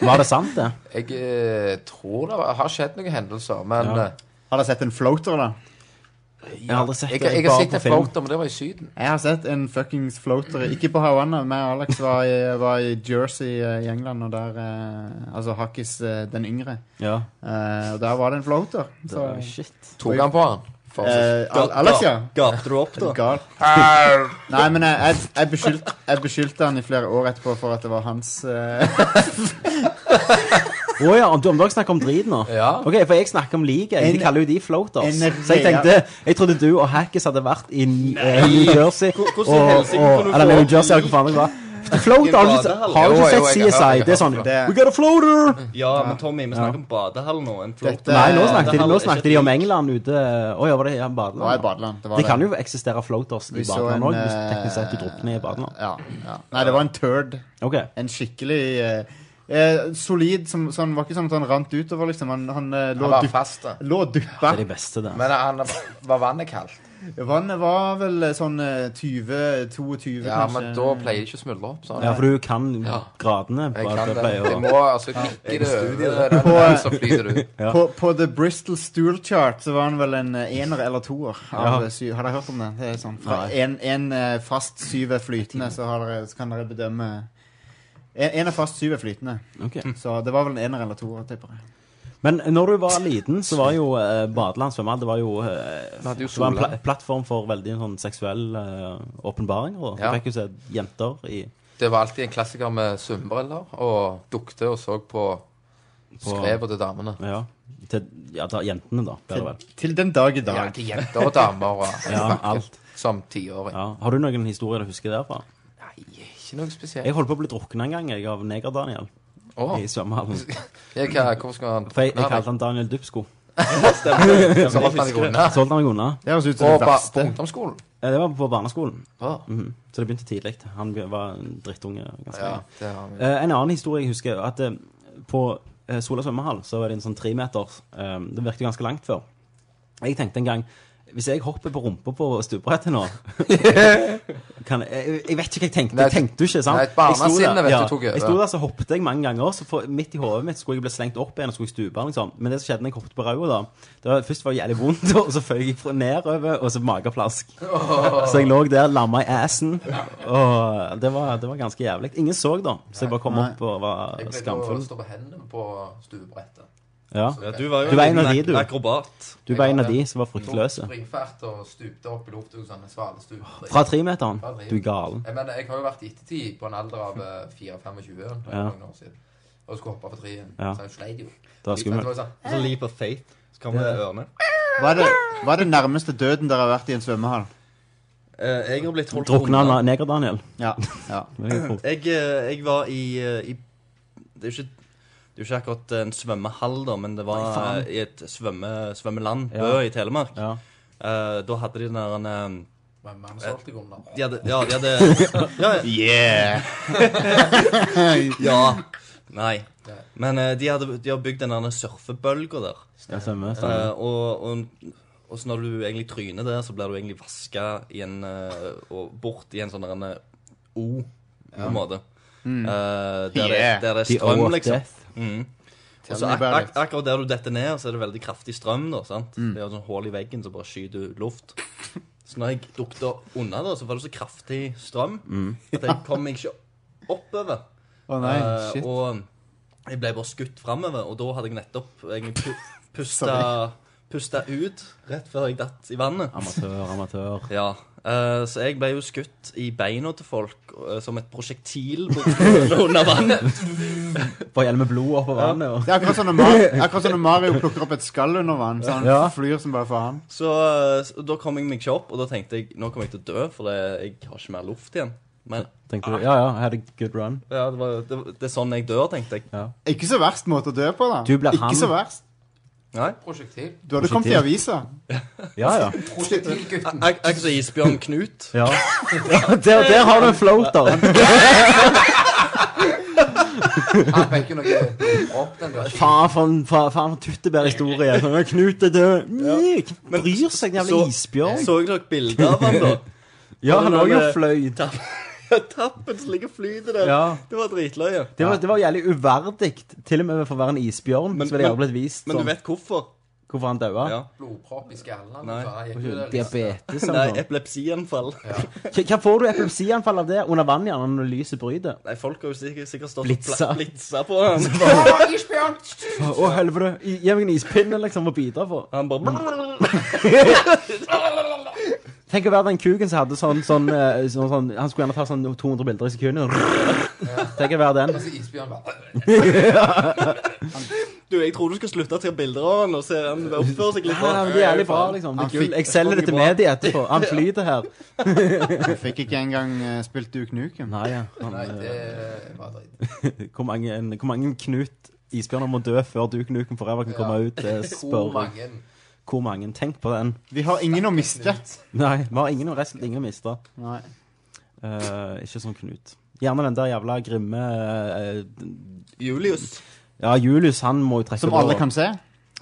var det sant, det? Jeg eh, tror det var- har skjedd noen hendelser, men Ja. eh, Har dere sett en floater, da? Jeg har aldri sett jeg, jeg har sett en floater, men det var i Syden. Jeg har sett en fuckings floater. Ikke på Havanna. Men Alex var i, var i Jersey eh, i England, og der eh, Altså Hakkis eh, den yngre. Ja. Eh, og der var det en floater. Så- Tok han på han? For- Eh, Al- Ga- Alex, ja. ga- Gapte du opp, *laughs* da? Gal. Arr. Nei, men jeg, jeg, jeg, beskyldte, jeg beskyldte han i flere år etterpå for at det var hans eh, Å ja, om du om dere snakker om drit nå? Ja. Ok, For jeg snakker om liket. En- De kaller jo de floaters. en Så jeg rea- tenkte Jeg trodde du og Hackis hadde vært i eh, Nei. New Jersey. Hvor- hvordan i og, helsike kan og, du eller få New Jersey, eller hvor faen det *laughs* var. Floater, har du ikke, har du ikke sett CSI? Det er sånn We got a floater! Ja, men Tommy, vi snakker om badehall nå. En floater. Nei, nå snakket, de, nå snakket de om England ute Å ja, var det ja, badeland? Det var i da? badeland, det var det det. kan jo eksistere floaters i Vi så badeland en, òg, hvis eh, teknisk sett du drukner i badeland. Ja, ja. Nei, det var en turd. En skikkelig eh, eh, solid som, sånn, Var ikke sånn at han rant utover, liksom. Han, han, eh, lå, var dupp- fast, da. lå og duppa. Men eh, han, var vannet kaldt? Vannet var vel eh, sånn eh, 20-22, Ja, kanskje. men da pleier det ikke å smuldre opp. sånn. Ja, for du kan gradene. Jeg bare kan at det. pleier å- Jeg må altså knikke det over den På, eh, der, så flyter det ut. på, på The Bristol Stool Chart så var han vel en eh, ener eller toer. Av eh, Ja. syv, har dere hørt om det? det er sånn, fra Nei. en, en eh, fast syv er flytende, så, har dere, så kan dere bedømme eh, En, en er fast syv er flytende. Ok. Så det var vel en ener eller toer, tipper jeg. Men når du var liten, så var jo eh, badeland svømmehall Det var jo, eh, Vi hadde jo *laughs* det var sola. en pla plattform for veldig sånn seksuell eh, åpenbaring. og Du Ja. fikk jo se jenter i Det var alltid en klassiker med svømmebriller og dukte og så på skrevet til damene. Ja, til ja, da, jentene, da. Bedre vel. Til den dag i dag. Ja, til jenter og damer og Ja, alt. Som tiåring. Ja. Har du noen historier du husker derfra? Ikke noe spesielt. Jeg holdt på å bli drukna en gang jeg, av Neger-Daniel Åh. i svømmehallen. Jeg, hva- hvorfor skal han For jeg, jeg Nei, kalte han Daniel Dupsko. stemmer det. Så holdt han deg unna. Så holdt han meg unna. Det høres ut som På det ba- verste. på ungdomsskolen? Ja, Det var på barneskolen. Ah. Mhm. Så det begynte tidlig. Han be- var en drittunge ganske Ja, lenge. det har vi. Eh, en annen historie jeg husker, at eh, på eh, Sola svømmehall så var det en sånn tremeters eh, Det virket ganske langt før. Jeg tenkte en gang hvis jeg hopper på rumpa på stupebrettet nå *laughs* kan, jeg, jeg vet ikke hva jeg tenkte. Jeg tenkte jo ikke, sant? Nei, et barnesinne, Jeg sto der- vet du, tok over. Jeg sto der, så hoppet jeg mange ganger. Så for, midt i hodet mitt skulle jeg bli slengt opp igjen og skulle stupe. Liksom. Men det som skjedde når jeg hoppet på rauda, da det var, Først var det jævlig vondt, *laughs* og så føyk jeg fra- nedover, og så mageplask. Åh. Så jeg lå der, lamma i assen. Og det var, det var ganske jævlig. Ingen så, da. Så jeg bare kom opp og var Jeg pleide å skamfull. stå på hendene på stuebrettet. Ja. Ja, du var jo var en en av de, ak- du. akrobat. Du var en Jeg av var de det. som var fryktløse. Tok springfart og stupte opp i lufta sånn en svalestup. Fra tremeteren? Fra tre- Du er galen. Jeg, mener, jeg har jo vært i ettertid på en alder av eh, 4-25 ja. Ja. noen år siden. Og skulle hoppe fra treen. Ja. Så jeg sleit jo. Det var skummelt. Så sånn, Så Altså, leap of faith. Så kommer Ja. ørene. Hva er, det, hva er det nærmeste døden dere har vært i en svømmehall? Eh, jeg har blitt holdt Drukna unna. av Neger-Daniel. Ja. jeg, eh, jeg var i, eh, i Det er jo ikke det er jo ikke akkurat en svømmehall, da, men det var Nei, faen. eh, i et svømme, svømmeland, Ja. Bø i Telemark. Eh, da hadde de den der en, eh, men solgte jeg om da. de hadde, Ja, de *laughs* hadde ja, *laughs* Yeah. ja. Nei. Men eh, de, hadde, de har bygd den der surfebølga der. Ja, stemmer, stemmer. Eh, og, og, og så når du egentlig tryner der, så blir du egentlig vaska i en eh, og bort i en sånn der en, eh, O, på Ja. en måte. Mm. Eh, der, Yeah. det, der det The er strøm, O of liksom. death. Mm. Tell Og så me ak about ak akkurat der du detter ned, så er det veldig kraftig strøm. da, sant? Det er jo sånn hull i veggen som bare skyter ut luft. Så når jeg dukta unna, da, så var det så kraftig strøm Mm. at jeg kom meg ikke oppover. Å nei, Eh, shit. og jeg ble bare skutt framover, og da hadde jeg nettopp egentlig pu pusta, Sorry. pusta ut rett før jeg datt i vannet. Amatør, amatør. Ja, eh, så jeg ble jo skutt i beina til folk eh, som et prosjektil bort- under vannet. Bare gjelder med blod oppå vannet. Og... Det er akkurat som når Mar- akkurat som når Mario plukker opp et skall under vann. Så han Ja. flyr som bare faen. Så, eh, så da kom jeg meg ikke opp, og da tenkte jeg nå kommer jeg til å dø, for det, jeg har ikke mer luft igjen. Men Tenkte du, ja ja, had a good run. ja, det, var, det, det er sånn jeg dør, tenkte jeg. Ikke så verst måte å dø på, da. Du ble Ikke han. så verst. Nei. Prosjektiv. Du hadde kommet i avisa. Ja, ja. Prosjektivgutten. Jeg er ikke så isbjørn *laughs* Knut. Ja. ja der, der har du en floater. Han fikk jo noe opp den der. Faen for en fa- faen for en tuttebærhistorie. Sånn, Knut er død. Nei, Hvem bryr seg, den jævla så- isbjørn? Så dere bilde av *laughs* han da? Ja, han Når òg eh, fløy. Tappen som ligger og flyter der. Ja. Det var dritløye. Det var, det var jævlig uverdig, til og med for å være en isbjørn. Men- så var det men- jævlig blitt vist Men du sånn. vet hvorfor? hvorfor han daua. Ja. Blodpropp i skallen. og Nei. så gikk du der. liksom. Diabetes Nei, eller noe. epilepsianfall. Hva- Hva får du epilepsianfall av det? Under vann, gjerne, når lyset bryter? Nei, folk har jo sikkert, sikkert stått Blitza. og pla- blitza på han. Å, isbjørn! Å, helvete. I- Gi meg en ispinne, liksom, å bidra for. Han bare Tenk å være den kuken som hadde sånn, sånn, eh, sånn, sånn Han skulle gjerne ta sånn 200 bilder i sekundet. Tenk å være den. Og så isbjørn bare Du, jeg tror du skal slutte til bilder av han og se han oppføre seg litt Nei, nei, men det er jævlig bra, liksom. Det Han er kult. fikk- Jeg selger det til media etterpå. Han flyter her. Jeg fikk ikke engang eh, spilt Duke Nukem. Nei, ja. Han, Nei, eh, det var dritt. hvor, mange, en, hvor mange Knut Isbjørner må dø før Duke Nukem Forever kan komme *laughs* ut? eh, Hvor Spør mange? hvor mange. Tenk på den. Vi har ingen å miste. Nei, vi har ingen å resten ingen å miste. Nei. Eh, ikke som Knut. Gjerne den der jævla grimme eh, Julius. Ja, Julius, han må jo trekke Som på- alle kan se.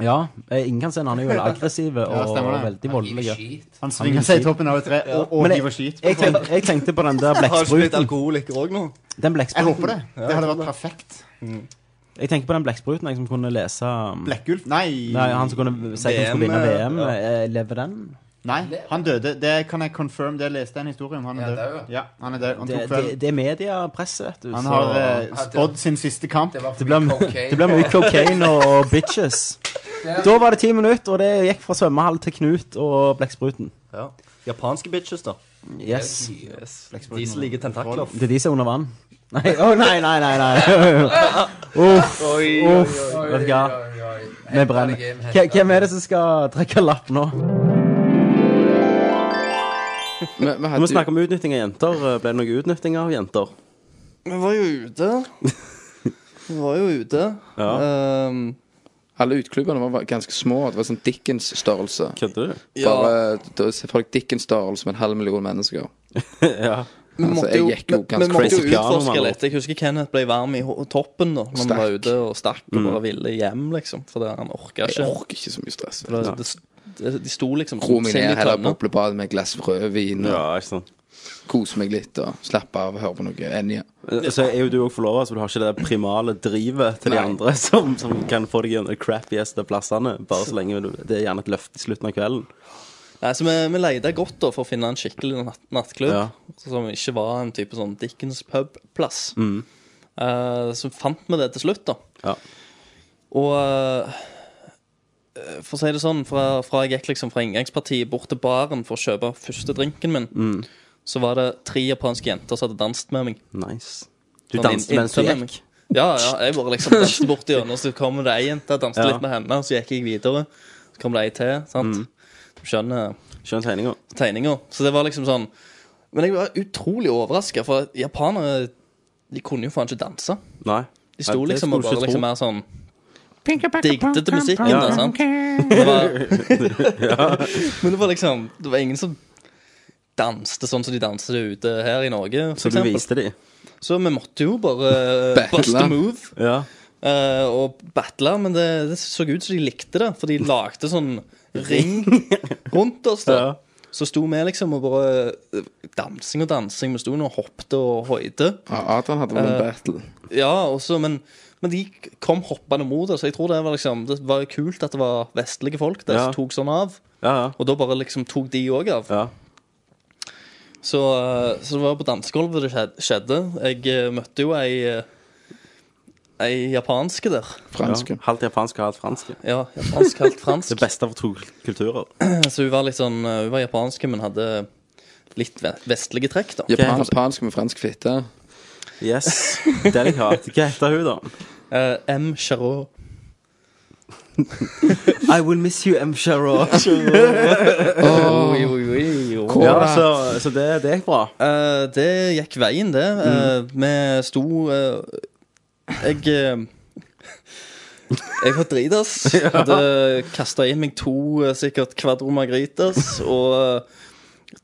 Ja, eh, ingen kan se den. Han er *laughs* jo veldig aggressiv Ja, og stemmer det. veldig Han gikk voldelig. skit. Han svinger seg i toppen av et tre og, og Men jeg, hiver skit. jeg, på folk. tenkte, jeg tenkte på den *laughs* der Har ikke blitt blekkspruten. alkoholiker òg nå? Den Jeg blekkspruten. håper det. Det hadde vært perfekt. Jeg tenker på den blekkspruten jeg som kunne lese um, Blekkulf? Nei. Nei, han som kunne si at han skulle VM, vinne eh, VM. eh, Lever den? Nei, han døde. Det kan jeg confirm. Det leste jeg en historie om. Han Ja, er det er død. jo. Ja, han er død. Han Det, tok det, feil. det er mediepresset, vet du. Han så- har eh, spådd sin siste kamp. Det var Det for ble, mye det cocaine. ble mye cocaine og bitches. Da var det ti minutter, og det gikk fra svømmehall til Knut og blekkspruten. Ja. Japanske bitches, da. Yes. Yes. De som liker tentakler. Det er de som er under vann. Nei, å nei, nei, nei. nei. Uff. Uff. Vet du hva? Vi brenner. Hva- Hvem er det som skal trekke lapp nå? Vi, vi Nå må vi hadde snakke om utnytting av jenter. Ble det noe utnytting av jenter? Vi var jo ute. Vi var jo ute. Ehm, Alle utklubbene var ganske små. Det var sånn Dickens-størrelse. Kødder du? Bare da ser folk Dickens-størrelse med en halv million *laughs* mennesker. Ja. vi Altså, måtte jeg jo, gikk jo vi- vi ganske måtte jo crazy piano, utforske mann. litt. Jeg husker Kenneth ble varm i ho- toppen da når han var Stakk. ute og stakk og bare ville hjem, liksom. Fordi han orka Jeg ikke. orker ikke så mye stress. For det- det- De sto liksom Ro meg sinn i ned, heller tønne. boblebad med et glass rødvin, og Ja, ikke sant. kose meg litt og slappe av og høre på noe Enja. Så er jo du òg forlova, så du har ikke det primale drivet til de Nei. andre som, som kan få deg gjennom de crappieste plassene, bare så lenge du Det er gjerne et løft i slutten av kvelden. Nei, så vi, vi leide godt da for å finne en skikkelig natt, nattklubb Ja. som ikke var en type sånn Dickens pub-plass. Eh, så fant vi det til slutt, da. Ja. Og eh, for å si det sånn, fra, fra jeg gikk liksom fra inngangspartiet bort til baren for å kjøpe første drinken min, Mm. så var det tre japanske jenter som hadde danset med meg. Nice. Du Sånn danset inn- mens du inntil gikk? meg. Ja, ja, jeg bare liksom danset bort gjennom, så kom det ei jente, danset Ja. Mm. litt med henne, og så gikk jeg videre. Så kom det ei til, sant. Du skjønner Skjønn tegninga. tegninger. Så det var liksom sånn Men jeg var utrolig overraska, for japanere De kunne jo faen ikke danse. Nei. De sto Nei, det liksom skulle og du bare ikke liksom tro. mer sånn Digtet til musikken, da, sant? Det var, men det var liksom Det var ingen som danste sånn som de danser ute her i Norge, for Så du eksempel. viste de? Så vi måtte jo *laughs* bare Battle. bust a move Ja. eh, og battle, men det, det så ut som de likte det, for de lagde sånn *laughs* ring rundt oss, da. Ja. Så sto vi liksom og bare eh, Dansing og dansing. Vi sto nå og hoppet og hoide. Ja, Adrian hadde vel en battle. Ja, også, men, men de kom hoppende mot oss. Jeg tror det var liksom Det var kult at det var vestlige folk der Ja. som tok sånn av. Ja, ja. Og da bare liksom tok de òg av. ja. Så, eh, så det var på dansegulvet det skjed- skjedde. Jeg eh, møtte jo ei eh, Ei japanske der. Franske. Ja. Halvt japansk og halvt fransk. Ja, japansk, *laughs* helt fransk. Det beste av to kulturer. Så hun var litt sånn eh, Hun var japanske, men hadde litt ve- vestlige trekk, da. Japan, Altså- japansk med fransk fitte. *laughs* Yes. Delikat. Hva heter hun, da? Eh, M. Charot. I will miss you, M. *laughs* Sharrow. Oi, oi, oi, oi. ja, så, så det, det gikk bra. Eh, det gikk veien, Mm. det. Eh, vi sto eh, Jeg eh, Jeg var dritas. *laughs* Ja. Hadde kasta i meg to eh, sikkert kvadromagritas og eh,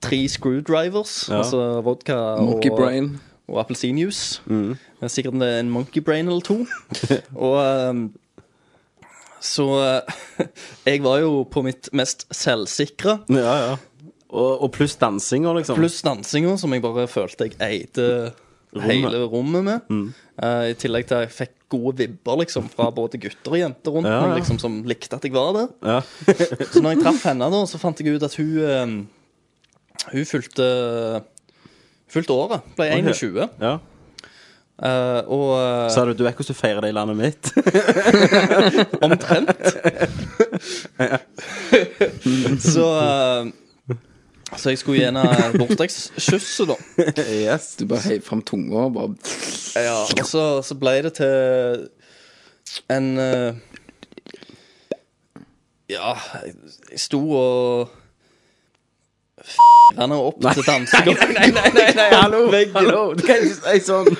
tre screwdrivers, Ja. altså vodka Monkey og, brain. Mm. og appelsinjuice. Eh, Sikkert en- en monkey brain eller *laughs* to. og ehm, så eh, *laughs* jeg var jo på mitt mest selvsikre. Ja, ja. Og, og pluss dansinga, liksom. Pluss dansinga, som jeg bare følte jeg eide Rommet. Mm. hele rommet med. Eh, I tillegg til at jeg fikk gode vibber liksom fra både gutter og jenter rundt Ja, ja. meg, liksom, som likte at jeg var der. Ja. *laughs* så når jeg traff henne, da, så fant jeg ut at hun eh, Hun fulgte Fulgte året. Ble Ok. 21. Ja. Eh, og eh, Sa du du vet hvordan du feirer det i landet mitt? Omtrent. så eh, Så jeg skulle gi henne bursdagsskysset, da. Du bare heiv fram tunga og bare Ja, og så, så ble det til en eh, Ja, jeg, jeg sto og f*** henne opp til dansegulvet. *laughs* Nei, nei, nei, nei, hallo! hallo. Du kan ikke si sånn.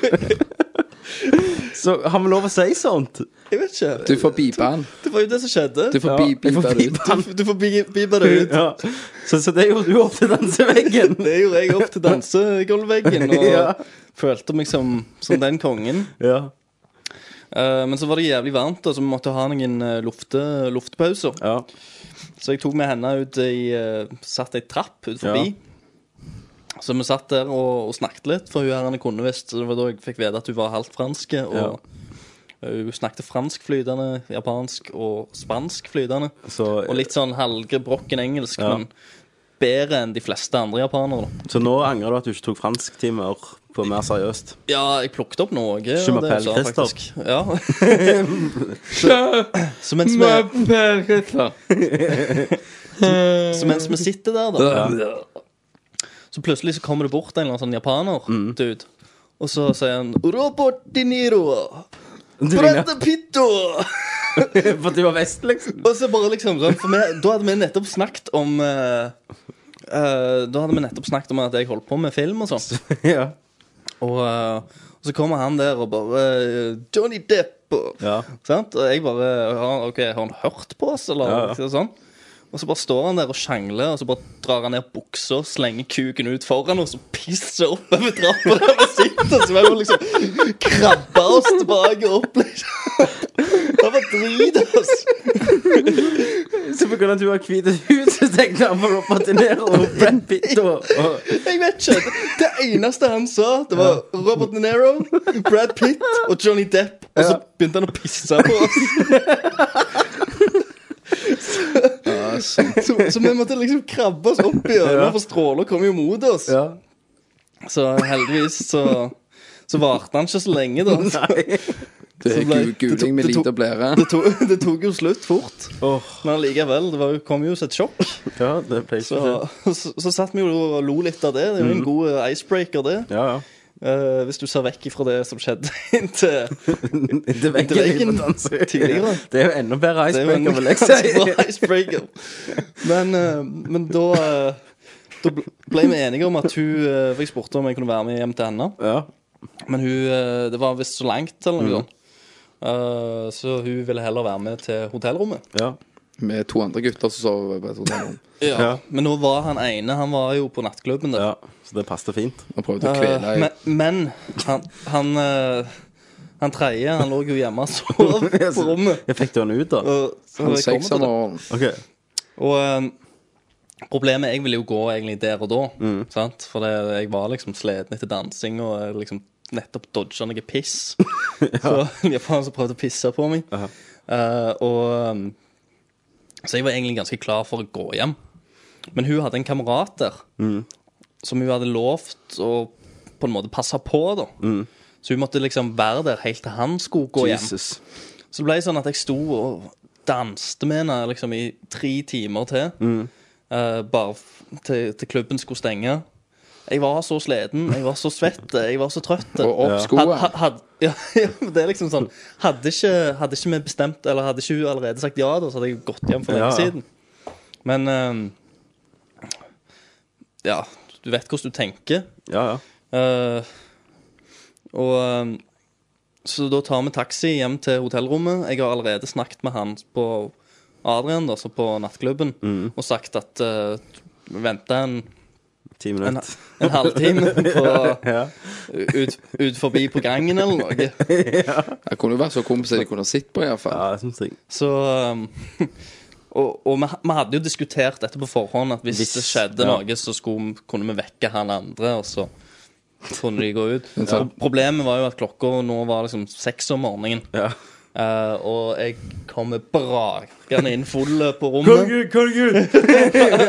Så har vi lov å si sånt? Jeg vet ikke. Du får bipe han. Det var jo det som skjedde. Du får Ja, bi- jeg får bipe det ut. bipe han. Du, du får bi- bipe det ut. Ja. Så, så det gjorde du opp til *laughs* danseveggen. Det gjorde jeg opp til dansegulvveggen, og *laughs* Ja. følte meg som, som den kongen. *laughs* Ja. Eh, men så var det jævlig varmt, og så vi måtte ha noen eh, lufte, luftpauser. Så jeg tok med henne ut i eh, Satt ei trapp ut forbi. Så vi satt der og, og snakket litt, for hun her henne kunne visst. Så det var da jeg fikk vite at hun var halvt fransk. Og eh, hun snakket fransk flytende, japansk og spansk flytende. Så- og litt sånn halvgebrokken engelsk, Ja. men bedre enn de fleste andre japanere. da. Så nå angrer du at du ikke tok fransktimer på mer seriøst? *laughs* Ja, jeg plukket opp noe. av det hun Schumapel sa, Christoph. faktisk. Ja. så, så mens vi Så mens vi sitter der, da Så plutselig så kommer det bort en eller annen sånn japaner dude, Og så sier han Robot de Niro Brette Pitto For at de var vest, liksom Og så bare liksom sånn For vi, da hadde vi nettopp snakket om eh, eh, Da hadde vi nettopp snakket om at jeg holdt på med film og sånn *laughs* Ja. og, eh, og så kommer han der og bare eh, Johnny Depp og, sant? Og jeg bare ja, Ok, har han hørt på oss, eller Ja, ja. liksom sånn? Og så bare står han der og sjangler, og så bare drar han ned buksa, slenger kuken ut foran oss og pisser opp over trappa der vi sitter. Så vi må liksom krabbe oss tilbake opp, liksom. *laughs* Han bare driter oss. Så på grunn av at du har hvit hud, så tenkte han på Robert De Niro *laughs* og Brad Pitt og, og Jeg vet ikke. Det eneste han sa, det var Robert De Niro, Brad Pitt og Johnny Depp. Og så begynte han å pisse på oss. Så, så, så vi måtte liksom krabbe oss opp i øynene, Ja. for stråler kom jo mot oss. Så heldigvis så, så varte han ikke så lenge, da. Det Så er ble- gu- guling med Altså, det tok- lite blære. det tok, det tok jo slutt fort, men allikevel. Det var, jo- kom jo som et sjokk. Ja, det pleier Så, så, så satt vi jo og lo litt av det. Det er jo en Mhm. god eh, icebreaker, det. Eh, hvis du ser vekk ifra det som skjedde *laughs* inntil Inntil inntil veggen tidligere. Det er jo enda bedre Det er jo en icebreaker, vil jeg ganske *laughs* bra si. icebreaker. Men, eh, men da eh, Da bl- ble vi enige om at hun eh, For jeg spurte om jeg kunne være med hjem til henne. Men hun eh, Det var visst så langt, eller noe Mhm. sånt. Eh, så hun ville heller være med til hotellrommet. Med to andre gutter som sover på et hotellrom. Ja. Men nå var han ene Han var jo på nattklubben der. Så det passet fint. Og prøvde å kvele Eh, ei men, men han Han, eh, han tredje, han lå jo hjemme og sov på rommet. Jeg fikk du han ut, da? Og, så Han jeg kommer til det. seksåringen. Ok. Og eh, problemet Jeg ville jo gå egentlig der og da. Sant? For det, jeg var liksom sliten etter dansing og jeg liksom nettopp dodga noe piss. Så *laughs* en japaner som prøvde å pisse på meg. Eh, og eh, Så jeg var egentlig ganske klar for å gå hjem. Men hun hadde en kamerat der som hun hadde lovt å på en måte passe på, da. Så hun måtte liksom være der helt til han skulle gå hjem. Jesus. Så det ble sånn at jeg sto og danste med henne liksom i tre timer til. eh, bare f- til, til klubben skulle stenge. Jeg var så sliten, jeg var så svett, jeg var så trøtt. Og opp skoene. Had- had- *laughs* ja, ja, men det er liksom sånn Hadde ikke, hadde ikke vi bestemt, eller hadde ikke hun allerede sagt ja, da, så hadde jeg gått hjem for lenge Ja, ja. siden. Men eh, Ja, du vet hvordan du tenker. Ja, ja. Eh, og eh, Så da tar vi taxi hjem til hotellrommet. Jeg har allerede snakket med han på Adrian, altså på nattklubben, og sagt at uh, vente en Ti en, en halvtime på, Ja. ut, ut forbi på gangen eller noe. Det kunne jo vært så kompiser de kunne ha sett på, iallfall. Ja, det syns jeg. Så um, *laughs* Og, og vi, vi hadde jo diskutert dette på forhånd, at hvis, Hvis, det skjedde ja. noe, så skulle, vi- kunne vi vekke han andre, og så kunne de gå ut. Ja. Pro- Problemet var jo at klokka nå var liksom seks om morgenen. Eh, og jeg kommer brakende inn full på rommet. *laughs*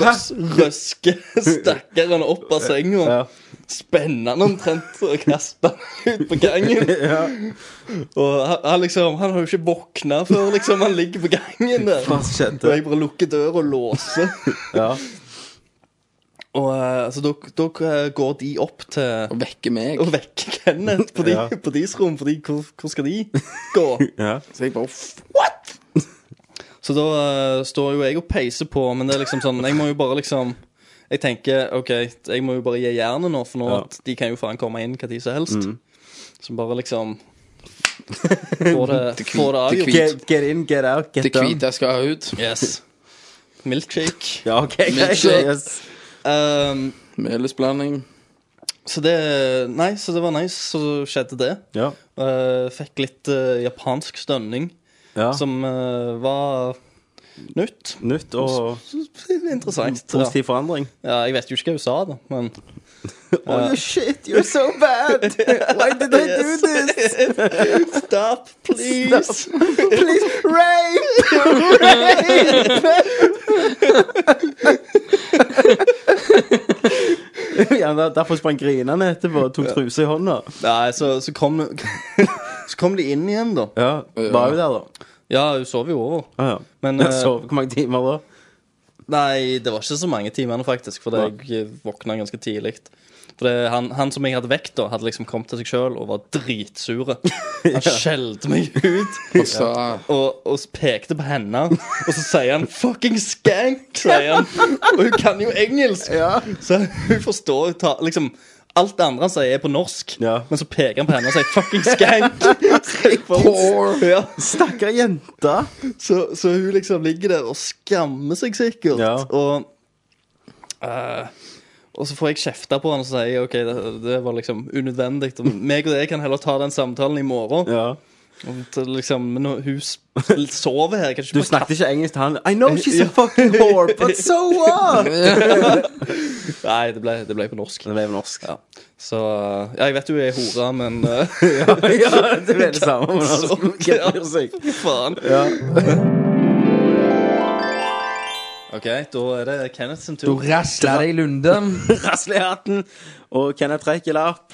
Røs, røske stakkaren opp av senga. Spenner han omtrent og kaster han ut på gangen. Og han, han liksom Han har jo ikke våkna før liksom han ligger på gangen der. Hva skjedde? Og jeg bare lukker døra og låser. Og eh, så da, da eh, går de opp til Og vekker meg. Og vekker Kenneth på, de, Ja. på deres rom, fordi hvor, hvor skal de gå? *laughs* Så jeg bare Så da eh, står jo jeg og peiser på, men det er liksom sånn Jeg må jo bare liksom Jeg tenker OK, jeg må jo bare gi jernet nå, for nå Ja. at de kan jo faen komme inn hva tid som helst. Mm. Så bare *laughs* liksom Få det, Det kvi- få det det avgjort. kvit. Get- get in, get out, get Det done. kvite skal ut. Yes. Milkshake. Ja, ok, greit, Milkshake. yes. Um, Melisblanding. Så det Nei, så det var nice, så skjedde det. Ja. Eh, fikk litt eh, japansk stønning, Ja. som eh, var nytt. Nytt og Interessant. ja. Positiv forandring. Ja, jeg vet jo ikke hva hun sa, da, *laughs* men Oh, Eh, you shit, you're so bad! Why did I do this? Stop, please! *laughs* Please, rape! rape! *laughs* ja, der- derfor sprang grinene etterpå og tok truse i hånda. *laughs* Nei, så, så kom *laughs* Så kom de inn igjen, da. Ja, Var hun der, da? Ja, hun sov jo over. Ah, ja. *laughs* Men, Jeg eh, sov hvor mange timer da? Nei, det var ikke så mange timene, faktisk, for jeg våkna ganske tidlig. For det, han, han som jeg hadde vekt, da, hadde liksom kommet til seg sjøl og var *laughs* dritsure. Han skjelte meg ut Og sa- og, og pekte på henne. Og så sier han 'fucking skank', sier han. Og hun kan jo engelsk, så hun forstår jo ta, liksom Alt det andre han sier, er på norsk, men så peker han på henne og sier 'fucking skank'. Så jeg bare- Ja. Stakkar jente. Så, så hun liksom ligger der og skammer seg sikkert. Og, eh, og så får jeg kjefta på han og sier OK, det, det var liksom unødvendig. Og meg og deg kan heller ta den samtalen i morgen. Og til liksom, men nå- hun s- sover her. Kan ikke Du bare snakket ikke engelsk til han. I know she's Ja. a fucking whore, *laughs* but so what? Nei, det ble, det ble på norsk. Ja. Så eh, Ja, jeg vet jo jeg er hore, men eh, Ja, ja, det er det samme, men *laughs* altså, hvem bryr seg? Faen. Ja. OK, da er det Kenneth sin tur. Du rasler det i *laughs* lunden. rasler i hatten. Og kan jeg trekke *laughs* lapp?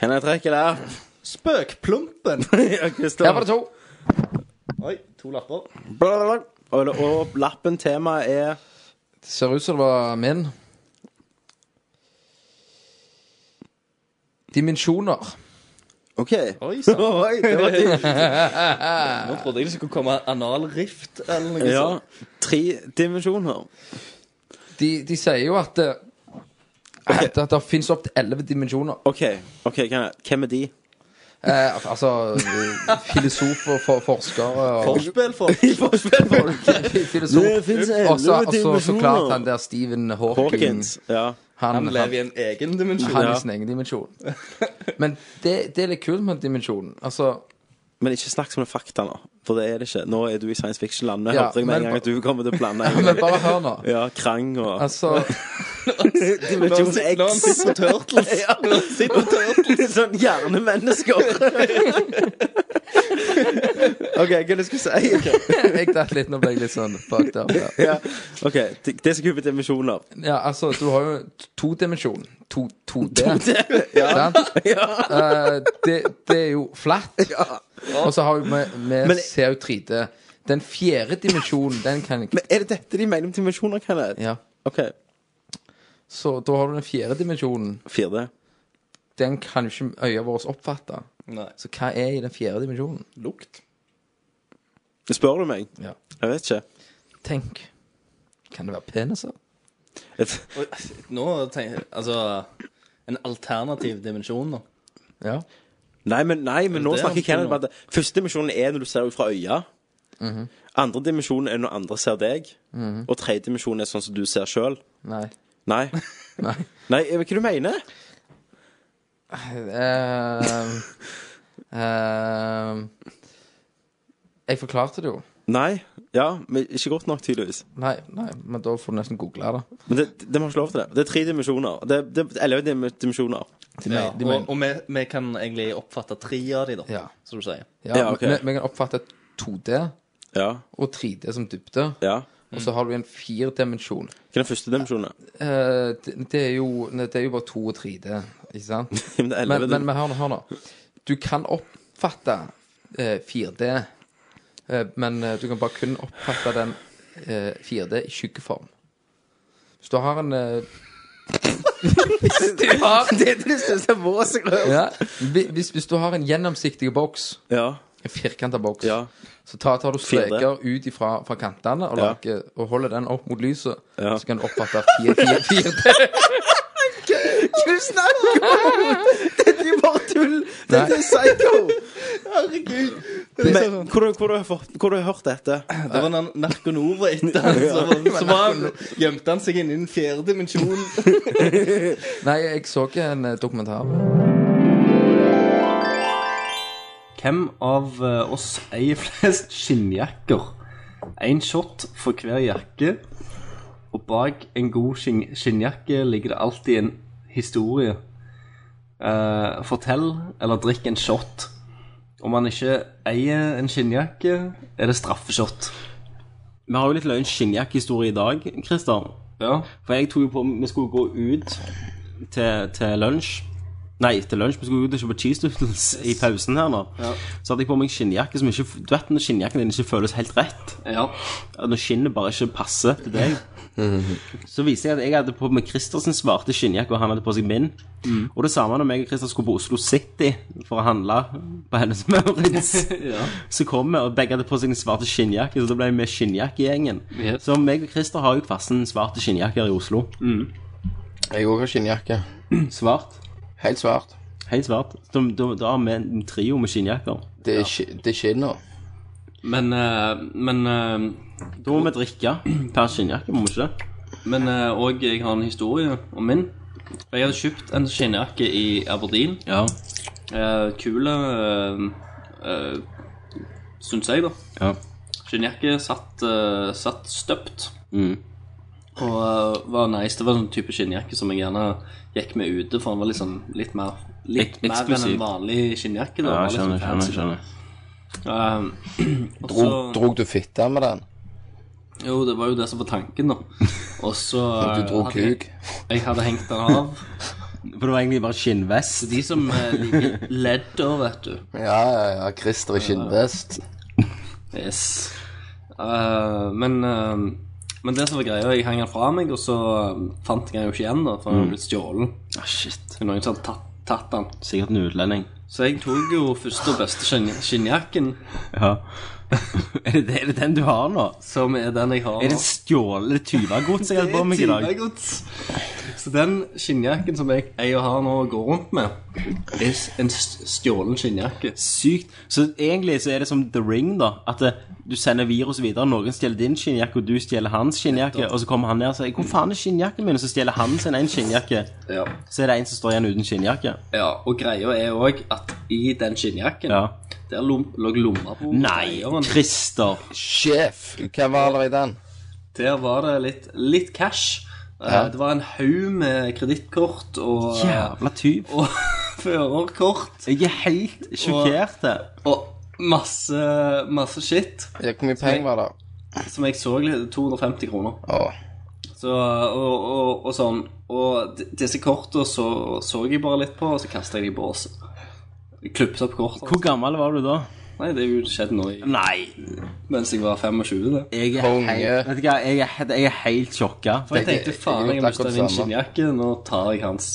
Kan jeg trekke lapp? Spøkplumpen. Her var det to. Oi, to lapper. Blablabla. Og, og lappen tema er Det ser ut som det var min. Dimensjoner. OK. Oi sann. Oi, det var dypt. Nå trodde jeg det skulle komme analrift eller noe Ja. sånt. Tre dimensjoner. De, de sier jo at eh, At, at det fins opptil elleve dimensjoner. OK, ok, kan jeg, hvem er de? Eh, altså eh, Filosofer, for, forskere og Forspill, folk. *laughs* Filosof. Det finnes elleve Og så altså, så dimensjoner. klart han der Stephen Hawking. Hawkins. Ja. Han, Han lever i en egen dimensjon. Han er i sin egen dimensjon. Men det, det er litt kult med dimensjonen. Altså, Men ikke snakk som en fakta nå, for det er det ikke. Nå er du i science fiction-land. Nå Ja, hørte jeg med men en gang ba- at du kommer til å blande Ja, men bare hør nå. Ja, krang og *laughs* altså *laughs* Dimensjon X. Når han sitter på Turtles. *laughs* Ja. Når han sitter på Turtles. Litt sånn *laughs* hjernemennesker. OK, hva er det du skulle si? Jeg datt litt, nå ble jeg litt sånn fucked up. Ja. ja. OK, det det er så kult med dimensjoner. ja, altså, du har jo todimensjon. To, 2D. *laughs* Ja. Sant? Eh, det, det er jo flatt. Og så har vi med, med Men- CO3D. Den fjerde dimensjonen, den kan jeg ikke Men er det dette de mener med dimensjoner, Kenneth? Ja. OK. Så da har du den fjerde dimensjonen. 4D. Den kan jo ikke øya våre oppfatte. Nei. Så hva er i den fjerde dimensjonen? Lukt. Spør du meg? Ja. Jeg vet ikke. Tenk. Kan det være peniser? Et- Nå tenker jeg Altså en alternativ dimensjon, da. Ja. Nei, men, nei, men Er det nå det han snakker skulle Kenneth om at det- første dimensjonen er når du ser ut fra øya. Andre dimensjonen er når andre ser deg. Mhm. Og tredje dimensjonen er sånn som du ser sjøl. Nei. Nei. Nei. Nei, jeg vet ikke hva du mener. *laughs* Ehm, ehm, jeg forklarte det jo. Nei. Ja, men ikke godt nok, tydeligvis. Nei, nei, men da får du nesten google det. Men det, det- de har ikke lov til det. Det er tre dimensjoner. Det, det, eller dim- dimensjoner. Ja, og og vi, vi kan egentlig oppfatte tre av de, da, som du sier. Ja, vi, vi kan oppfatte 2D og 3D som dybde. Og så har du en firdimensjon. Hva er den første dimensjonen? Eh, det, det, er jo, det er jo bare 2 og 3D, ikke *laughs* sant? men, men, elleve men, hør nå, hør nå. Du kan oppfatte eh, 4D, eh, men eh, du kan bare kun oppfatte den eh, 4D i skyggeform. Hvis du har en *laughs* eh, Du har det du syns er våsrørt. ja, hvi- hvis, hvis du har en gjennomsiktig boks, en firkanta boks, så tar, tar du 4D. streker ut ifra, fra kantene og, Ja. lager, og holder den opp mot lyset, så kan du oppfatte 4D. *laughs* Hva snakker du om? Dette er bare tull. Dette er Nei. psycho. Herregud. Men, hvor, har- hvor, har jeg fått- hvor har du hørt dette? Det var den narkonova etter han, *laughs* så, så var han, gjemte han seg inne i den fjerde dimensjonen. Nei, jeg så ikke en eh, dokumentar. Hvem av eh, oss eier flest skinnjakker? Én shot for hver jakke, og bak en god skinn skinnjakke ligger det alltid en historie. Eh, fortell eller drikk en shot. Om man ikke eier en skinnjakke, er det straffeshot. Vi har jo litt løgn skinnjakkehistorie i dag, Christer. Ja. For jeg tok jo på Vi skulle gå ut til, til lunsj. Nei, til lunsj. Vi skulle ut og kjøpe cheese doodles i pausen her nå. Ja. Så hadde jeg på meg skinnjakke som ikke Du vet når skinnjakken din ikke føles helt rett? Ja. Når skinnet bare ikke passer til deg. Så viser jeg at jeg hadde på meg Christer sin svarte skinnjakke, og han hadde på seg min. Mm. Og det samme når meg og Christer skulle på Oslo City for å handle på Hennes Maurits. Ja. Så kom vi, og begge hadde på seg den svarte skinnjakke, så da ble vi skinnjakkegjengen. Ja. Så meg og Christer har jo hver sin svarte skinnjakke her i Oslo. Mm. Jeg òg har skinnjakke. *clears throat* Svart. Helt svart. Helt svart. Da, da, da har vi en trio med skinnjakker. Det er, sk det er skinner. Men, eh, men eh, Da må vi drikke per skinnjakke, må vi ikke det? Men eh, og jeg har en historie om min. Jeg hadde kjøpt en skinnjakke i Aberdeen. Ja. Eh, kule eh, eh, Syns jeg, da. Ja. Skinnjakke satt, eh, satt støpt. Mm. Og eh, var nice. Det var en sånn type skinnjakke som jeg gjerne gikk med ute, for den var liksom litt mer Litt Ek- mer enn eksklusiv. en vanlig skinnjakke. Da. Ja, Den var skjønner, liksom skjønner, skjønner. fancy. Eh, *clears throat* og Drog, så- drog du fitta med den? Jo, det var jo det som var tanken, *laughs* da. Og så eh, Du dro hadde jeg- kuk. Jeg hadde hengt den av. For det var egentlig bare skinnvest. De som eh, liker ledder, vet du. Ja, ja, ja. Christer i skinnvest. Yes. Eh, men, eh, men det som var greia, jeg hang den fra meg, og så eh, fant jeg den jo ikke igjen, da, for den Mm. hadde blitt stjålet. Ah, shit. Noen som hadde tatt, tatt den. Sikkert en utlending. Så jeg tok jo første og beste skinn- skinnjakken. Ja. *laughs* er, det, er det den du har nå? Som er den jeg har Er det nå. stjålet *laughs* tyvegods jeg hadde på meg i dag? Tyvegods. Så den skinnjakken som jeg, jeg har nå og går rundt med, er s- en s- stjålen skinnjakke. Sykt. Så egentlig så er det som The Ring, da. At eh, du sender virus videre. Noen stjeler din skinnjakke, og du stjeler hans skinnjakke. Og så kommer han ned og sier 'Hvor faen er skinnjakken min?' Og så stjeler han sin en skinnjakke. Ja. Så er det en som står igjen uten skinnjakke. Ja, og greia er òg at i den skinnjakken Ja. der lom- lå lommebok. Nei, Christer. Sjef! Hva var det i den? Der var det litt, litt cash. Eh, Ja. Det var en haug med kredittkort og Jævla tyv. Og førerkort. Jeg er helt sjokkert. Og, og masse, masse shit. Ja, hvor mye penger var det? Som jeg så litt 250 kroner. Åh. Så, og, og, og sånn. Og d- disse kortene så, så jeg bare litt på, og så kasta jeg dem i båset. Klippet opp kortene. Hvor gammel var du da? Nei, det er jo skjedd nå i Nei. Mens jeg var 25, det. Jeg er helt, vet du hva, jeg er, helt- jeg er helt sjokka. For jeg tenkte faen, jeg har mista min skinnjakke. Nå tar jeg hans.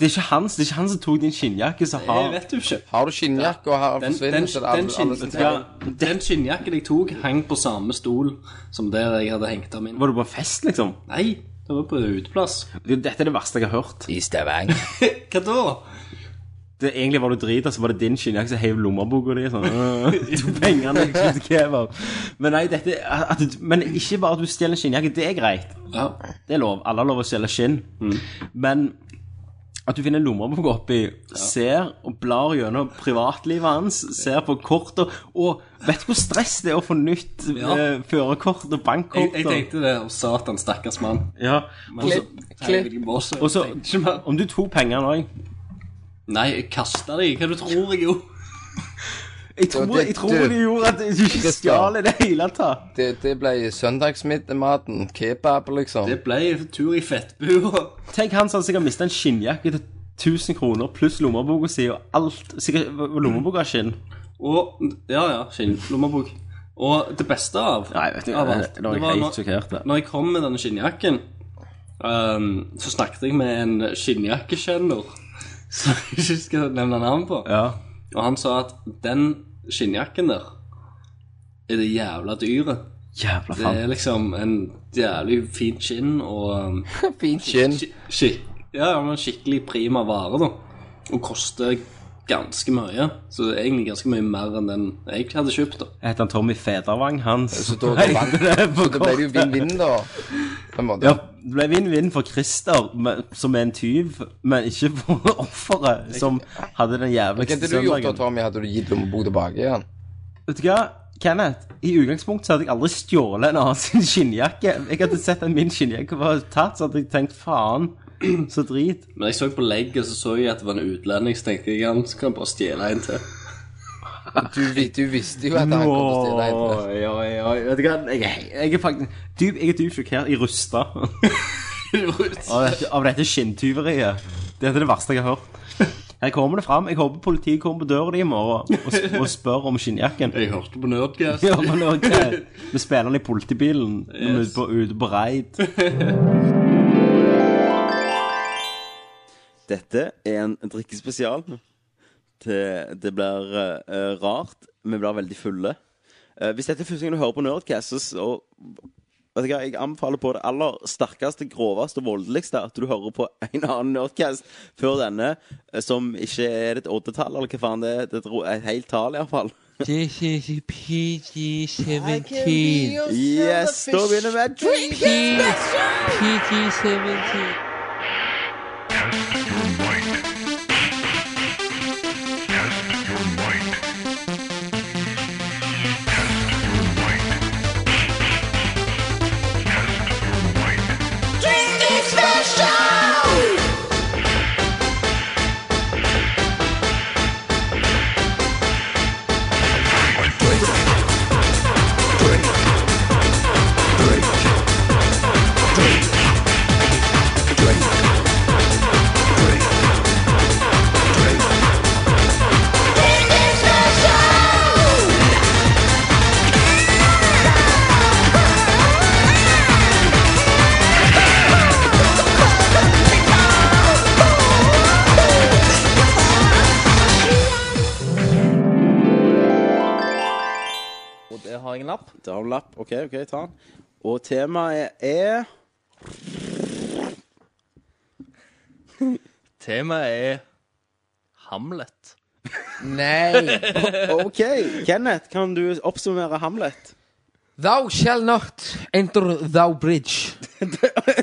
Det er ikke hans, det er ikke han som tok din skinnjakke som har Jeg vet jo ikke. Har du skinnjakke og har Den, den, forsvinner så det alle- den, skinn, alle som ja, tar- den skinnjakken jeg tok, hang på samme stol som der jeg hadde hengt av min. Var du på fest, liksom? Nei. Det var på uteplass. Dette er det verste jeg har hørt. I Stavanger. Hva da? Det, egentlig var du drita, så var det din skinnjakke som heiv lommeboka di. *laughs* Sånn, øh, to pengene jeg kjøpte kebab. Men nei, dette at, du- Men ikke bare at du stjeler en skinnjakke, det er greit. Det er lov. Alle har lov å stjele skinn. Mm. Men at du finner en lommebok oppi, ser og blar gjennom privatlivet hans, ser på kortet Og vet du hvor stress det er å få nytt Ja. eh, førerkort og Jeg, bankkort? jeg og- tenkte det, og satan, stakkars mann. Ja. Men så- Helvete, boss, jeg Og så, tenkte ikke mer. om du tok pengene òg Nei, jeg kasta de. Hva du tror jeg gjorde? Jeg tror, jeg tror de gjorde at du ikke stjal i det hele tatt. Det, det ble søndagsmiddagen. Kebab, liksom. Det ble tur i fettbua. Tenk han som sikkert mista en skinnjakke til 1000 kroner pluss lommeboka si og alt. Sikkert lommeboka har skinn. Og Ja, ja. Skinn. Lommebok. Og det beste av Nei, vet du, av det- alt, det var jeg helt sjokkert, det. Når jeg kom med denne skinnjakken, ehm, så snakket jeg med en skinnjakkekjenner som jeg ikke skal nevne navn på. Og han sa at den skinnjakken der er det jævla dyret. Jævla Det er liksom en jævlig fint skinn og um, Fint skinn. Ja, ja, men skikkelig prima vare, da. Og koster ganske mye. Så det er egentlig ganske mye mer enn den jeg hadde kjøpt, *laughs* da. Heter han Tommy Federvang, hans? Så da- da vant- så da ble det jo vinn-vinn, da. Ja, det ble vinn-vinn for Christer, men, som er en tyv, men ikke for *laughs* offeret, som hadde den Hva jævligste hadde du gjort da, søndagen. Tommy? Hadde du gitt lommebok tilbake igjen? Vet du hva, Kenneth? I utgangspunktet så hadde jeg aldri stjålet en annen sin skinnjakke. Jeg hadde sett at min skinnjakke var tatt, så hadde jeg tenkt faen, så drit. Men jeg så på legget, så så jeg at det var en utlending, så tenkte jeg han kan bare stjele en til. *laughs* Du, visste jo at han kom til å stjele en til. Oi, oi, oi. Vet du hva, jeg, jeg er faktisk dyp, Jeg er dypt sjokkert. Jeg rusta. *laughs* av, dette, av dette skinntyveriet. Dette er det verste jeg har hørt. Her kommer det fram. Jeg håper politiet kommer på døra di i morgen og, s- og spør om skinnjakken. Jeg hørte på Nerdcast. Ja, men ok. *laughs* Vi spiller den i politibilen når vi er på- ute på *laughs* reid. Dette er en drikkespesial. det, det blir eh, rart. Vi blir veldig fulle. Eh, hvis dette er første gang du hører på Nerdcast, så, så vet du hva, Jeg anbefaler på det aller sterkeste, groveste og voldeligste at du hører på en annen Nerdcast før denne, eh, som ikke er et oddetall, eller hva faen det er. Det er et ro- et helt tall, iallfall. This is a PG-17. Yes, da begynner vi. Drinking PG-17. Og der har jeg en lapp. Da har du lapp. OK, ok, ta den. Og temaet er Temaet er Hamlet. Nei! *laughs* OK. Kenneth, kan du oppsummere Hamlet? *laughs* Thou shall not enter thou bridge.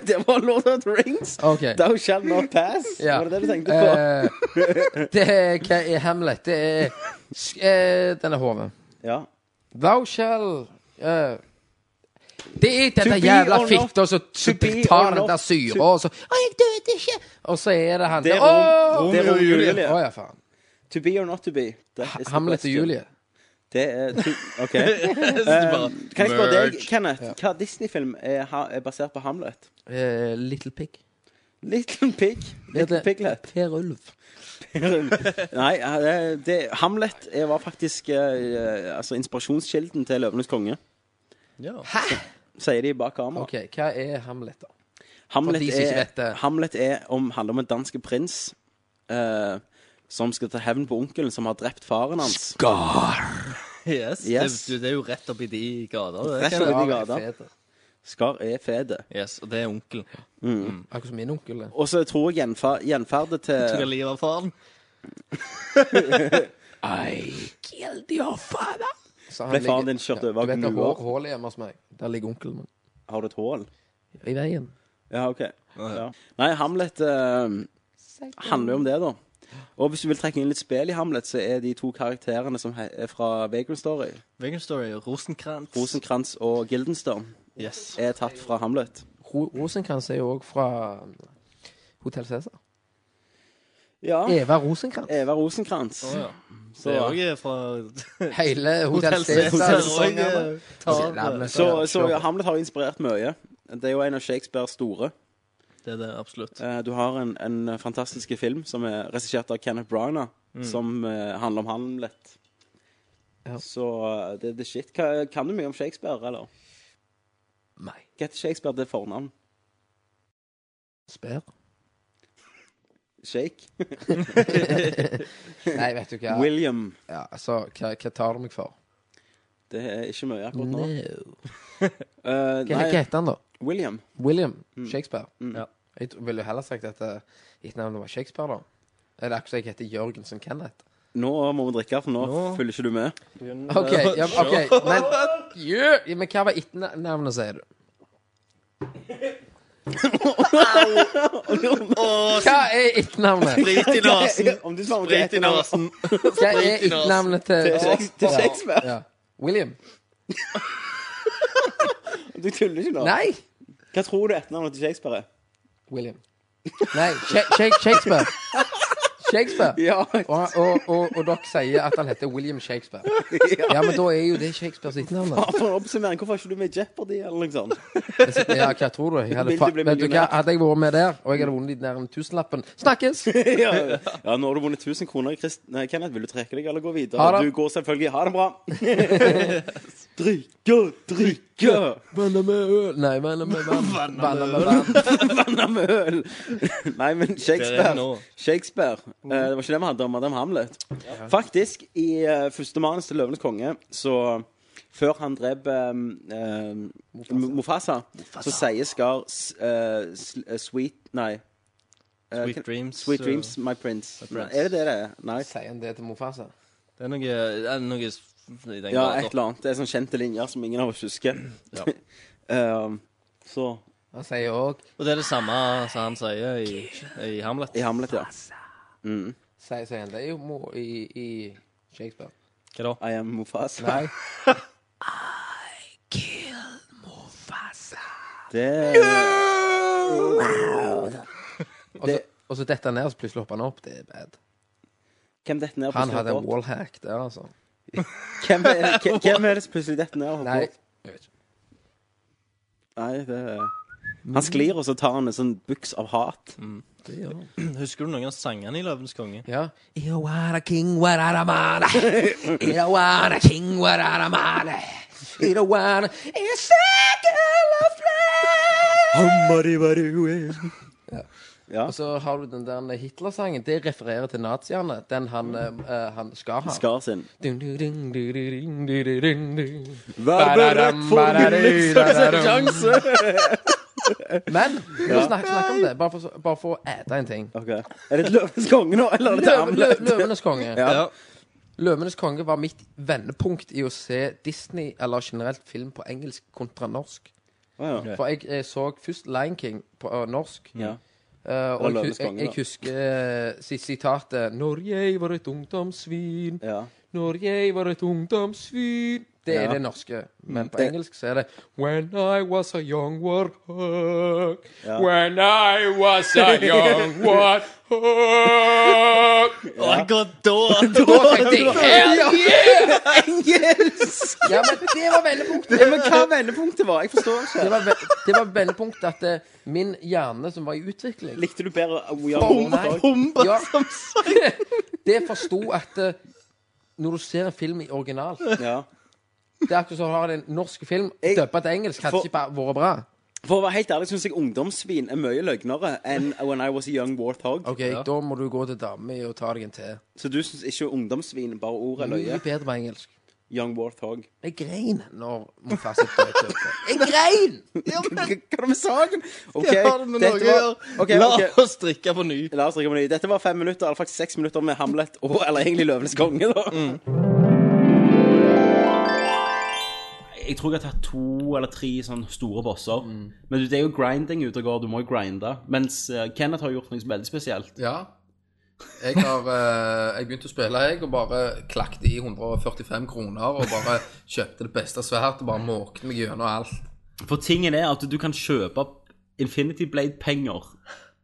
det var Lord of the Rings. Ok. Thou shall not pass. Ja. Var det det du tenkte på? Eh, det er, hva E er Hamlet? Det er s- eh, denne hoven. Ja. Thou shall eh, Det er To denne be jævla or not- fitta som som be or tar den not der syra, og så Å, jeg døde ikke! Og så er det han Det er der, Rom- «Åh!» Romeo og Julie. Å ja, faen. To be or not to be. That is the Hamlet og question. Julie. Det er to, OK. *laughs* Jeg synes bare, Um, kan jeg spørre deg, merch. Kenneth, hva Disney-film er, ha- er basert på Hamlet? Eh, Little Pig. Little Pig. Little Piglet. Per Ulv. *laughs* Nei, eh, det, Hamlet eh, var faktisk eh, altså inspirasjonskilden til Løvenes konge, Hæ?! sier de bak kamera. OK, hva er Hamlet, da? Hamlet For de som ikke vet er, Hamlet er om, handler om en danske prins eh, som skal ta hevn på onkelen som har drept faren hans. Yes. Yes. Det, du, det er jo rett oppi de gater. Rett oppi de gater. Skar er fede. Yes, og det er onkel. Mm. Akkurat som min onkel. Og så tror jeg gjenfer- gjenferdet Tok jeg til livet av faren? Ei. Killed your father! Så han Ble ligger- faren din kjørt Ja, over av Du vet det gnuer? hå- hullet hjemme hos meg. Der ligger onkelen min. Har du et hull? I veien. Ja, OK. Ja. Nei, Hamlet eh, handler jo om det, da. Og hvis du vil trekke inn litt spill i Hamlet, så er de to karakterene som he er fra Bacon Story, Vegan Story, Rosenkrantz. Rosenkrantz og Gildenstern, Yes. er tatt fra Hamlet. Ro Rosenkrantz er jo òg fra Hotell Cæsar. Ja. Eva Rosenkrantz. Eva Rosenkrantz. Å, ja. Så- Det er også fra Hele Hotel Cæsar Cæsar. også, sesongen. eh, tar- Så, så ja, Hamlet har inspirert mye. Det er jo en av Shakespeares store. Det er det, absolutt. Eh, Du har en, en fantastisk film som er regissert av Kenneth Branagh, Mm. som eh, handler om Hamlet. Så eh, det det er shit. Hva, kan du mye om Shakespeare, eller? Nei. Hva heter Shakespeare til fornavn? Spør. Shake? Nei, vet du hva. William. Ja, altså, hva, hva tar du meg for? Det er ikke mye akkurat nå. No. Eh, Hva hva heter han, da? William. William Shakespeare. Mm. Ja. Jeg tro- ville jo heller sagt at eh, etternavnet var Shakespeare, da. Eller akkurat som jeg heter Jørgensen Kenneth. Nå må vi drikke, for nå, Nå. følger ikke du med. OK, Mm. ja, men- ok, *laughs* men, Jø, men hva var etternavnet, sier du? Hva er etternavnet? Sprit i nasen. *laughs* Om du svarer om Sprit det i heter noe. nasen. Hva er Sprit i nasen. etternavnet til Til Shakespeare. Til Shakespeare. Ja. William. Du tuller ikke nå? Nei. Hva tror du etternavnet til *laughs* Shakespeare er? William. Nei, Sha- Sha- Shakespeare. Shakespeare. Og, og, og, og dere sier at han heter William Shakespeare. Ja, men da er jo det Shakespeares etternavn. da. Faen, for en oppsummering. Hvorfor er ikke du med i Jeopardy, eller noe sånt? Ja, hva tror du? Jeg hadde, Vil du fa bli vet du hva, millionær? hadde jeg vært med der, og jeg hadde vunnet de nærmere tusenlappen Snakkes! *laughs* ja, ja, nå har du vunnet 1000 kroner. Krist Nei, Kenneth, vil du trekke deg eller gå videre? Ha det. Du går selvfølgelig. Ha det *laughs* bra. drikke, drikke. Vanna med øl Nei, vanna med vann. Vanna med vann. Vanna med øl. Nei, Det men er Shakespeare. nå. Shakespeare. Eh, det var ikke det vi hadde om Madame Hamlet. Faktisk, i eh, første manus til Løvenes konge, så før han drep eh, eh, Mufasa, så sier Skar s- eh, s- eh, Sweet Nei. Eh, Sweet kan- dreams, Sweet eh, dreams, my prince. my prince. Er det det det er? Nei. Sier han det til Mofasa? Det er noe, det er noe s- i den Ja, graden. et eller annet. Det er sånne kjente linjer som ingen av oss husker. *clears throat* Ja. *laughs* Eh, så Han sier òg Og det er det samme som han sier i, i Hamlet. I Hamlet, ja. Mm. Sier sier han det er jo mo i, i Shakespeare. Hva da? I am Mufasa. Nei. Det Og så- Og så detter han ned, og så plutselig hopper han opp. Det er bad. Hvem detter ned og Han plutselig hadde en hopper opp? wallhack der, altså. Hvem er, hvem- hvem er det som plutselig detter ned og hopper Nei, opp? Nei, det er Han sklir, og så tar han en sånn buks av hat. Husker du noen av sangene i Løvens konge? Ja. Irawara king wararamara. Irawara king wararamara. Irawara is circle of Ja. Og så har du den der Hitler-sangen. Det refererer til naziene. Den han, eh, han skal ha. Skar sin. Dun, dun, dun, dun, dun, dun, dun, dun, dun. Vær beredt for ulykkens sjanse! Men vi må Ja. snakke, snakke om det, bare for, bare for å ete en ting. Ok. Er det Løvenes konge nå, eller er det Løv, løv, Hamlet? løvenes konge. *laughs* Ja. Løvenes konge var mitt vendepunkt i å se Disney, eller generelt film på engelsk kontra norsk. Å ja. For jeg, eh, så først Lion King på eh, norsk. Ja. Eh, og Det var jeg, Løvenes jeg, konge, jeg da. husker eh, si- sitatet 'Når jeg var et ungdomssvin'. Ja. 'Når jeg var et ungdomssvin'. Det er Ja. det norske. Men på Det- engelsk så er det 'When I was a young warthog'. Ja. When I was a young warthog. Akkurat *laughs* da Da tenkte jeg Hell Ja. yeah! Engelsk! Ja, men det var vendepunktet. Ja, men hva vendepunktet var? Jeg forstår ikke. Det var, ve det var vendepunktet at eh, min hjerne som var i utvikling Likte du bedre We Are Bom- Warthog? bomba som *laughs* Det forsto at eh, når du ser en film i original Ja. Det er akkurat som å ha en norsk film døpt til engelsk. Hadde For- ikke bare vært bra. For å være helt ærlig syns jeg ungdomssvin er mye løgnere enn When I Was a Young Warthog. Ok, Da må du gå til dame og ta deg en te. Så du syns ikke ungdomssvin, bare ordet, er Mye løye? bedre på engelsk. Young Warthog. Jeg grein når Mufasa døde. Jeg grein! Hva er det med saken? Det har det med Norge å gjøre. La oss drikke på ny. La oss drikke på ny. Dette var fem minutter, eller faktisk seks minutter med Hamlet og Eller egentlig Løvenes konge, da. Mm. Jeg tror jeg har tatt to eller tre sånn store bosser. Mm. Men det er jo grinding ute og går. Du må jo grinde. Mens eh, Kenneth har gjort noe veldig spesielt. Ja. Jeg har eh, Jeg begynte å spille, jeg, og bare klakket i 145 kroner og bare kjøpte det beste svært og bare måkte meg gjennom alt. For tingen er at du kan kjøpe Infinity Blade-penger.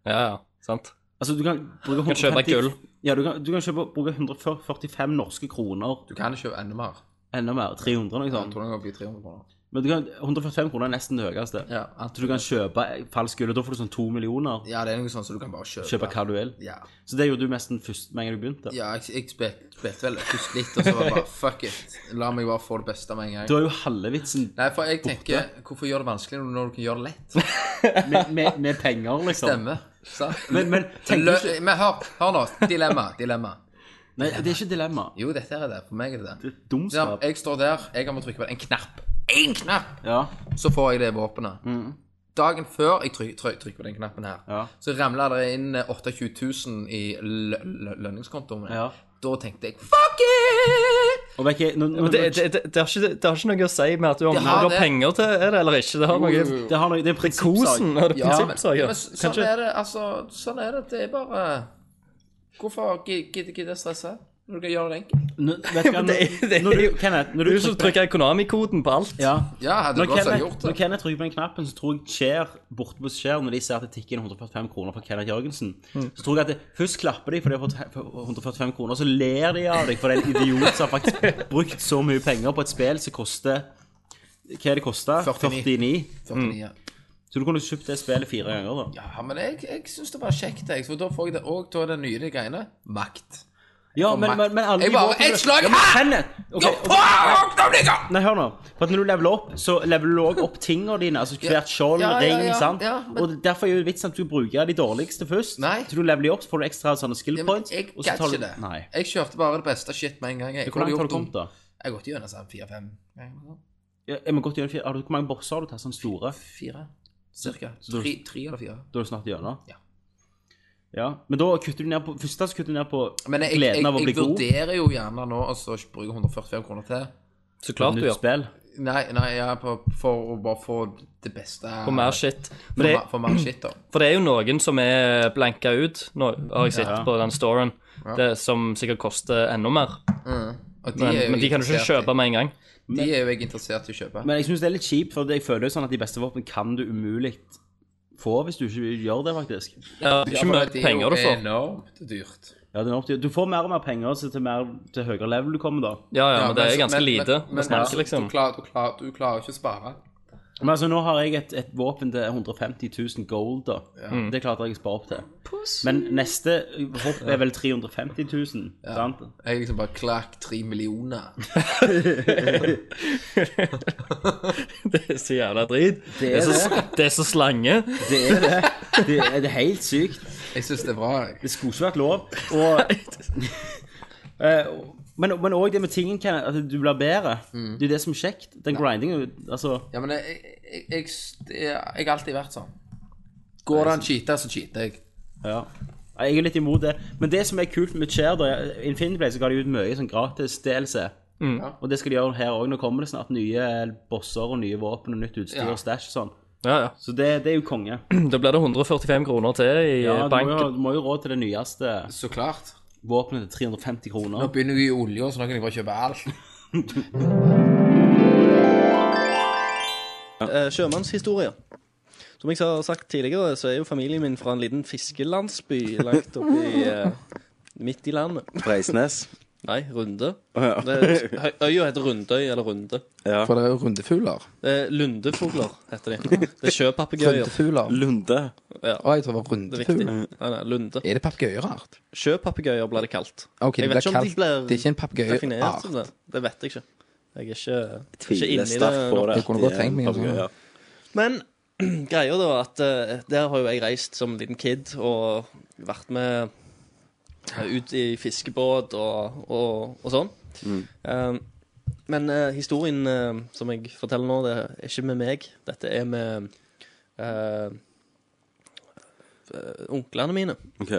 Ja, ja, sant. Altså, du kan bruke Du kan kjøpe 150 gull. Ja, du kan, du kan kjøpe, bruke 145 norske kroner. Du kan kjøpe enda mer. Enda mer. 300, noe sånt. Mm. Jeg tror det kan bli 300 kroner. Men du kan, 145 kroner er nesten det høyeste. Ja, så du kan kjøpe falsk gull, og da får du sånn to millioner. Ja, det er noe sånn som du kan bare kjøpe. Kjøpe hva du vil. Ja. Så det gjorde du nesten først med en gang du begynte. Ja, jeg, jeg spilte spilte vel først litt, og så var det bare fuck it. La meg bare få det beste med en gang. Du har jo halve vitsen Nei, for jeg tenker, hvorfor gjøre det vanskelig når du kan gjøre det lett? med, med, med penger, liksom. Stemmer. sant? Men- men tenker Lø- ikke- Men hør, hør nå. Dilemma. Dilemma. Nei, det er ikke dilemma. Jo, dette er det. For meg er det det. dumskap. Ja, jeg står der, jeg må trykke på en knapp. Én knapp! Ja. Så får jeg det våpenet. Dagen før jeg trykker, trykker på den knappen her, så ramla det inn eh, 28 000 i lø- lø- lønningskontoen min. Da tenkte jeg fuck it! Og vet ikke, nå, nå, Men det, det, det, det, har ikke, det har ikke noe å si med at du har, Det har du har det. penger til er det eller ikke. Det har Jo, noe jo, jo. Det har noe- det er kosen og det er Ja, prinsippsaker. men- men så- Sånn Kanskje- er det. Altså, sånn er det. Det er bare Hvorfor gi- gidde gidde å stresse? Når du kan gjøre det enkelt. nå, vet du hva, Men når, *laughs* det- det- når du, Kenneth, når du Du er jo som trykker Konami-koden på alt. Ja. Ja, hadde Når godt sagt Kenneth- gjort det. Når Kenneth trykker på den knappen, så tror jeg Cher borte på Cher, når de ser at det tikker inn 145 kroner fra Kenneth Jørgensen, Mm. så tror jeg at det, først klapper de for de har fått he- 145 kroner, og så ler de av deg for det er en idiot som har *laughs* faktisk brukt så mye penger på et spill som koster Hva er det kosta? 49. 49. 49, ja. Så du kunne kjøpt det spillet fire ganger, da. Ja, men jeg, jeg syns det var kjekt, jeg. For da får jeg det òg av det nye de greiene. Makt. Ja, Og men, makt. men, men alle Jeg de bare, våpnene- «Et slag Ja, men her!» Kenneth! Nå Ok, ok. fuck, da blir jeg- Nei, hør nå. For at når du leveler opp, så leveler du også *laughs* opp tingene dine. Altså hvert skjold, Ja, ja, ring, ja, sant? ja, men- Og derfor er jo vitsen at du bruker de dårligste først. Så du leveler de opp, så får du ekstra sånne skill points. Jeg og så gadd tar ikke du- det. Nei. Jeg kjørte bare det beste shit med en gang. Jeg Hvor Kunne langt har gjort du kommet, om- da? Jeg har gått gjennom sånn fire-fem ganger. Ja, Jeg må godt gjøre fire. Har du, hvor mange bosser har du tatt? Sånne store? Fire. Cirka. Så da- Tre, tre eller fire. Da er du snart gjennom? Ja. ja. Men da kutter du ned på Først da så kutter du ned på Men jeg, jeg, gleden av å jeg, bli god. vurderer jo gjerne nå altså, å bruke 145 kroner til. Så klart På nytt du gjør. spill? Nei, nei ja, på, for å bare få det beste På mer shit. For, det- mer- for mer shit, da. For det er jo noen som er blanka ut, nå har jeg sett Ja. på den storen, Ja. det, som sikkert koster enda mer. Mm. Og de men, er jo men de kan du ikke interessert i- kjøpe med en gang. De er jo jeg interessert i å kjøpe. Men jeg syns det er litt kjipt, for jeg føler jo sånn at de beste våpen kan du umulig få hvis du ikke gjør det, faktisk. Ja, det er ikke mye for det er jo penger du får. Enormt dyrt. Ja, det er nok dyrt. Du får mer og mer penger så til mer til høyere level du kommer, da. Ja, ja, men det er så- ganske lite Men, vi men, snakker, altså, liksom. *laughs* du, klarer, du, klarer, du klarer ikke å spare. Men altså, nå har jeg et, et våpen til 150 000 gold, da. Ja. Mm. Det klarte jeg å spare opp til. Men neste hopp er vel 350 000, sant? Jeg liksom bare klakk tre millioner. Det er så jævla drit. Det Det er er så, det. det er så slange. Det er det. Det er, det er helt sykt. Jeg syns det er bra. Jeg. Det skulle ikke vært lov. Og, *laughs* Eh, men men òg det med tingen, Kenneth, at du blir bedre. Det er jo det som er kjekt. Den grindingen, altså Mm. Ja, men jeg, jeg, jeg, det er- jeg har alltid vært sånn. Går det an cheater, så cheater jeg. Ja. Nei, Jeg er litt imot det. Men det som er kult med Cher, da Infinity Play, så ga de ut mye sånn gratis DLC. Mm. Ja. Og det skal de gjøre her òg. Nå kommer det snart nye bosser og nye våpen og nytt utstyr Ja. og stæsj og sånn. Ja, *clears throat* ja. Så det, det er jo konge. Da blir det 145 kroner til i Ja, du må, jo, banken. du må jo råd til det nyeste Så klart. våpenet til 350 kroner. Nå begynner jeg i olja, så nå kan jeg bare kjøpe alt. Eh, sjømannshistorier. Som jeg har sagt tidligere, så er jo familien min fra en liten fiskelandsby langt *laughs* oppi eh, midt i landet. Breisnes. Nei, Runde. Å, ja. Det er- Øya heter Rundøy eller Runde. Ja. For det er jo rundefugler. Eh, lundefugler heter de. Det er sjøpapegøyer. Rundefugler. Lunde. Ja. Å, jeg tror det var Det er viktig. rundefugl. Nei, nei, lunde. Er det papegøyeart? Sjøpapegøyer blir det kalt. Ok, det jeg blir vet ikke om kalt- de blir det er ikke en papegøyeart. definert som det. Det vet jeg ikke. Jeg er ikke, Tviler ikke inni det. sterkt på nå. det. Jeg kunne godt tenkt meg en sånn. Ja. Men greia da er at eh, der har jo jeg reist som liten kid og vært med eh, ut i fiskebåt og, og, og sånn. Mm. Eh, Men eh, historien eh, som jeg forteller nå, det er ikke med meg. Dette er med eh, eh, onklene mine. Ok.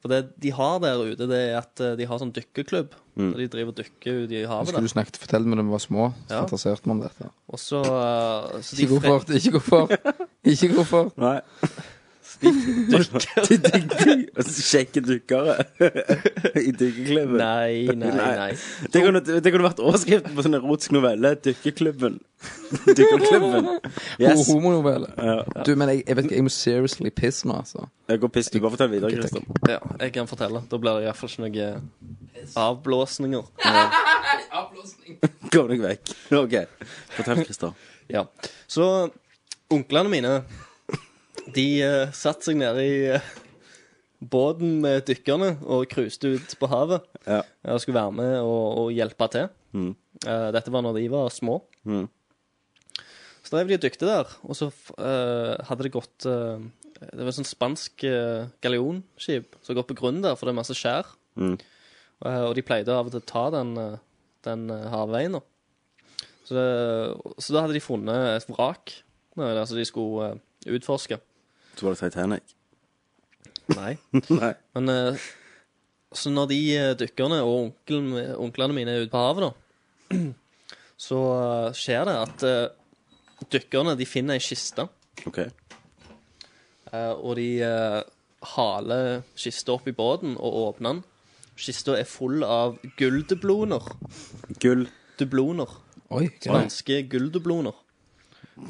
For det de har der ute, det er at eh, de har sånn dykkerklubb. Mm. Så De driver og dykker ute i havet. Skulle du snakket fortelle meg da vi var små, så Ja. fantaserte vi om dette. Og så, eh, så de Ikke fre- koffert, ikke koffert. Ikke koffert. Nei. Dykker. *laughs* De dykker. Kjekke dykkere. I dykkerklubben. Nei, nei, nei. Det kunne, det kunne vært overskriften på sånn erotisk novelle. Dykkerklubben. Dykkerklubben. Yes. Ho- Homonovelle. Ja. Du, men jeg, jeg vet ikke, jeg må seriously piss nå, altså. Jeg går piss. Du bare fortell videre, Ok, takk. Christian. Ja, jeg kan fortelle. Da blir det iallfall ikke noe avblåsninger. *laughs* Kom deg vekk. OK. Fortell, Christer. Ja. Så onklene mine, de uh, satte seg nede i eh, båten med dykkerne og cruiset ut på havet. Ja. Jeg skulle være med og, og hjelpe til. Mm. Eh, dette var når de var små. Mm. Så drev de og dykte der, og så f- eh, hadde det gått eh, Det var et sånt spansk eh, galeonskip som har gått på grunn der, for det er masse skjær. Mm. Eh, og de pleide av og til å ta den, eh, den eh, havveien. da. Så, det, så da hadde de funnet et vrak som altså de skulle eh, utforske. Så var det Titanic. Nei. *laughs* Nei. Men eh, så når de eh, dykkerne og onkelen, onklene mine er ute på havet, da, *clears throat* så eh, skjer det at eh, dykkerne de finner ei kiste. OK. Eh, og de eh, haler kista opp i båten og åpner den. Kista er full av gulldubloner. Gull. Dubloner. Oi, hva er det? Spanske gulldubloner.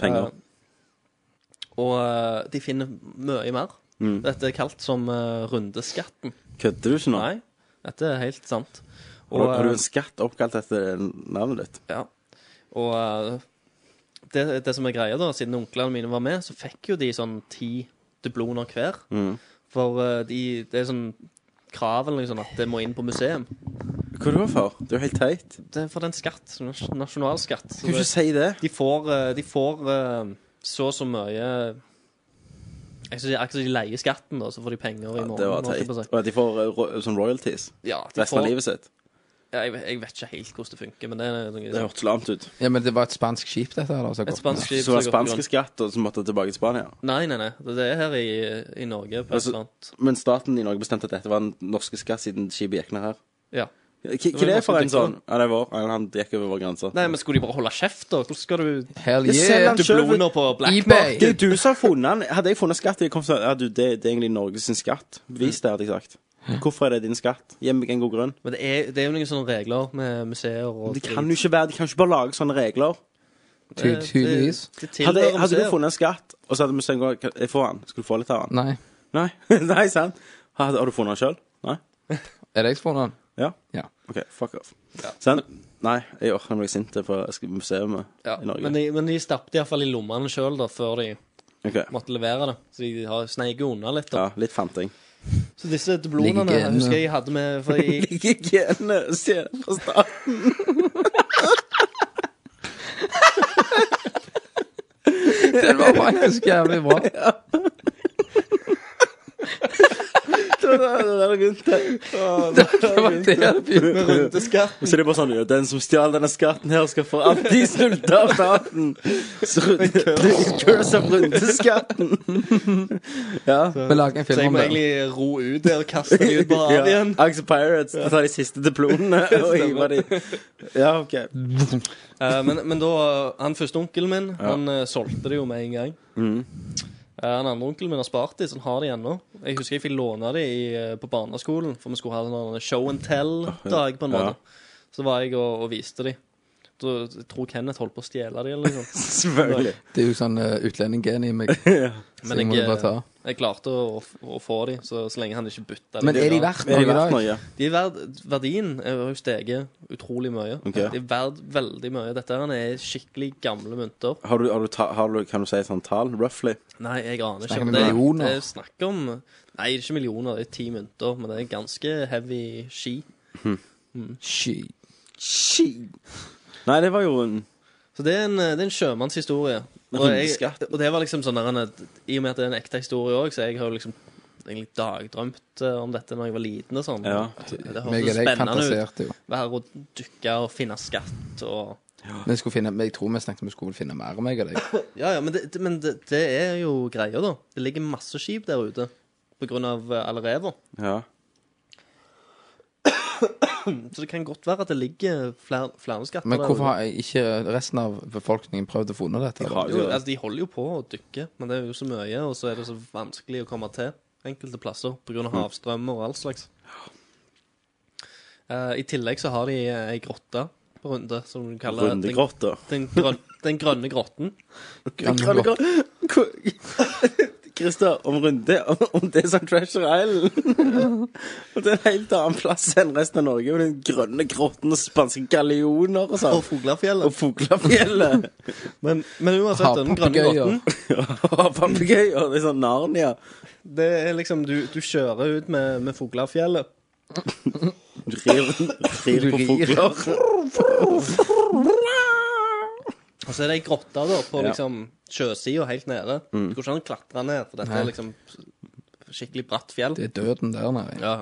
Penger. Eh, og eh, de finner mye mer. Mm. Dette er kalt som eh, rundeskatten. Kødder du ikke nå? Nei, dette er helt sant. Har, du- har du eh, en skatt oppkalt etter navnet ditt? Ja. Og eh, det, det som er greia, da, siden onklene mine var med, så fikk jo de sånn ti dubloner hver. Mm. For eh, de, det er sånn krav eller noe sånt at det må inn på museum. Hva er det for? Det er jo helt teit. Det er for den skatt. nas- Nasjonalskatt. Så Kan du ikke si det? De får, eh, de får eh, så og så mye Jeg synes det er Akkurat som de leier skatten, da, så får de penger i Det var måneden. holdt jeg teit. på å si. Og at de får eh, ro sånn royalties Ja, de resten får- av livet sitt. Ja, jeg, jeg vet ikke helt hvordan det funker, men det er noe Det hørtes lamt ut. Ja, men det var et spansk skip, dette her. da, som har Et gått spansk ned. skip Så var som det har gått på spanske skatt, og så måtte de tilbake til Spania. Nei, nei, nei. Det er her i, i Norge. På Altså, altså, men staten i Norge bestemte at dette var den norske skatt siden skipet gikk ned her. Ja. Hva hva var er det norske for en dykkere. sånn? Ja, det er vår. Han gikk over vår grense. Nei, men skulle de bare holde kjeft, da? Hvordan skal du Hell Jeg selger den selv. Dubloner på black market. Det er du som har funnet den. Hadde jeg funnet skatt, jeg kom til å si, ja, du, det, det er egentlig Norges sin skatt. Bevis det, hadde jeg sagt. Hvorfor er det din skatt? Gi meg en god grunn. Men det er, det er jo noen sånne regler med museer og Det kan jo ikke være, De kan jo ikke bare lage sånne regler. Ty- tydeligvis. Det- det tilhører Hadde, hadde du museet. funnet en skatt, og så hadde museet gått "Kan Jeg får den. Skal du få litt av den? Nei. Nei, *laughs* Nei sant? Har, har du funnet den sjøl? Nei? Er det jeg som får den? Ja? Ja. OK, fuck off. Sant? Nei, jeg orker å bli sint på museet ja, i Norge. Men *laughs* de, men de stappet iallfall i lommene sjøl, da, før de Ok. måtte levere det. Så de har sneiket unna litt, da. Ja, litt fanting. Så disse Ligger dublonene genene. husker jeg jeg hadde med for *laughs* jeg, Ligger genene og ser det fra starten. Den var faktisk jævlig bra. Det var det der rundt her. Å, det der Det var rundt det her. jeg begynte med rundeskatten. Så det er bare sånn ja, Den som stjal denne skatten her, skal for alltid snulte av staten. Så *laughs* Curse av rundeskatten. Ja. Vi lager en Så film jeg om må det. egentlig ro ut der og kaste dem ut på *laughs* havet Ja, igjen. Axe Pirates ja. tar de siste *laughs* diplomene og hiver de Ja, OK. Eh, men, men da Han første onkelen min, Ja. han eh, solgte det jo med en gang. Mm. Eh, Han andre onkelen min har spart de, så han har de ennå. Jeg husker jeg fikk låne de i, eh, på barneskolen, for vi skulle ha en sånn show and tell-dag, på en Ja. måte. Så var jeg og, og viste de. Da, jeg tror Kenneth holdt på å stjele de, eller noe sånt. Selvfølgelig. Det er jo sånn uh, utlendinggen i meg. Så jeg Men må jeg, jo bare ta. eh, jeg klarte å, å få de, så, så lenge han ikke bytta de. Men er de verdt Er de noe i verdt dag? noe? De er verd, verdien er jo steget utrolig mye. Ok. De er verdt veldig mye. Dette her er skikkelig gamle mynter. Har du, har du, ta, har du Kan du si et sånt tall? Roughly? Nei, jeg aner ikke. Snakker men vi det er- millioner? Det er snakk om Nei, det er ikke millioner, det er ti mynter. Men det er ganske heavy ski. Mm. Ski. Ski. Nei, det var jo en Så det er en, eh, det er en sjømannshistorie. Og, jeg, og det var liksom sånn der, en- I og med at det er en ekte historie òg, så jeg har jo liksom egentlig dagdrømt eh, om dette når jeg var liten og sånn. Ja. Det det Meg og hørtes deg spennende fantaserte jo. ut. Være og dukke og finne skatt og Men jeg, skulle finne, men jeg tror vi snakket om vi skulle finne mer om meg og deg. Ja, ja, men, det, det- men det, det er jo greia, da. Det ligger masse skip der ute på grunn av eh, alle rever. Ja. Så det kan godt være at det ligger flere, flere skatter Men der hvorfor ute. har jeg ikke resten av befolkningen prøvd å funne dette? da? jo, altså, de holder jo på å dykke, men det er jo så mye, og så er det så vanskelig å komme til enkelte plasser pga. Mm. havstrømmer og all slags. Eh, I tillegg så har de eh, ei grotte på Runde, som de kaller Rundegrotta. Den, den, grøn, *laughs* den grønne grotten. Den grønne grotten. *laughs* Christer, om runde om, om det er sånn som Treasure *laughs* Island. og det er en helt annen plass enn resten av Norge, med den grønne grotten og spanske gallioner og sånn. Og Fuglafjellet. Og Fuglafjellet. *laughs* men, men uansett, den grønne grotten Havpapegøyer. Det er sånn Narnia. Det er liksom Du, du kjører ut med, med Fuglafjellet. Du rir, rir Du på rir. fugler. Og så er det ei grotte da, på Ja. liksom sjøsida helt nede. Mm. Det går ikke an å klatre ned, for dette Nei. er liksom skikkelig bratt fjell. Det er døden der nede. Ja.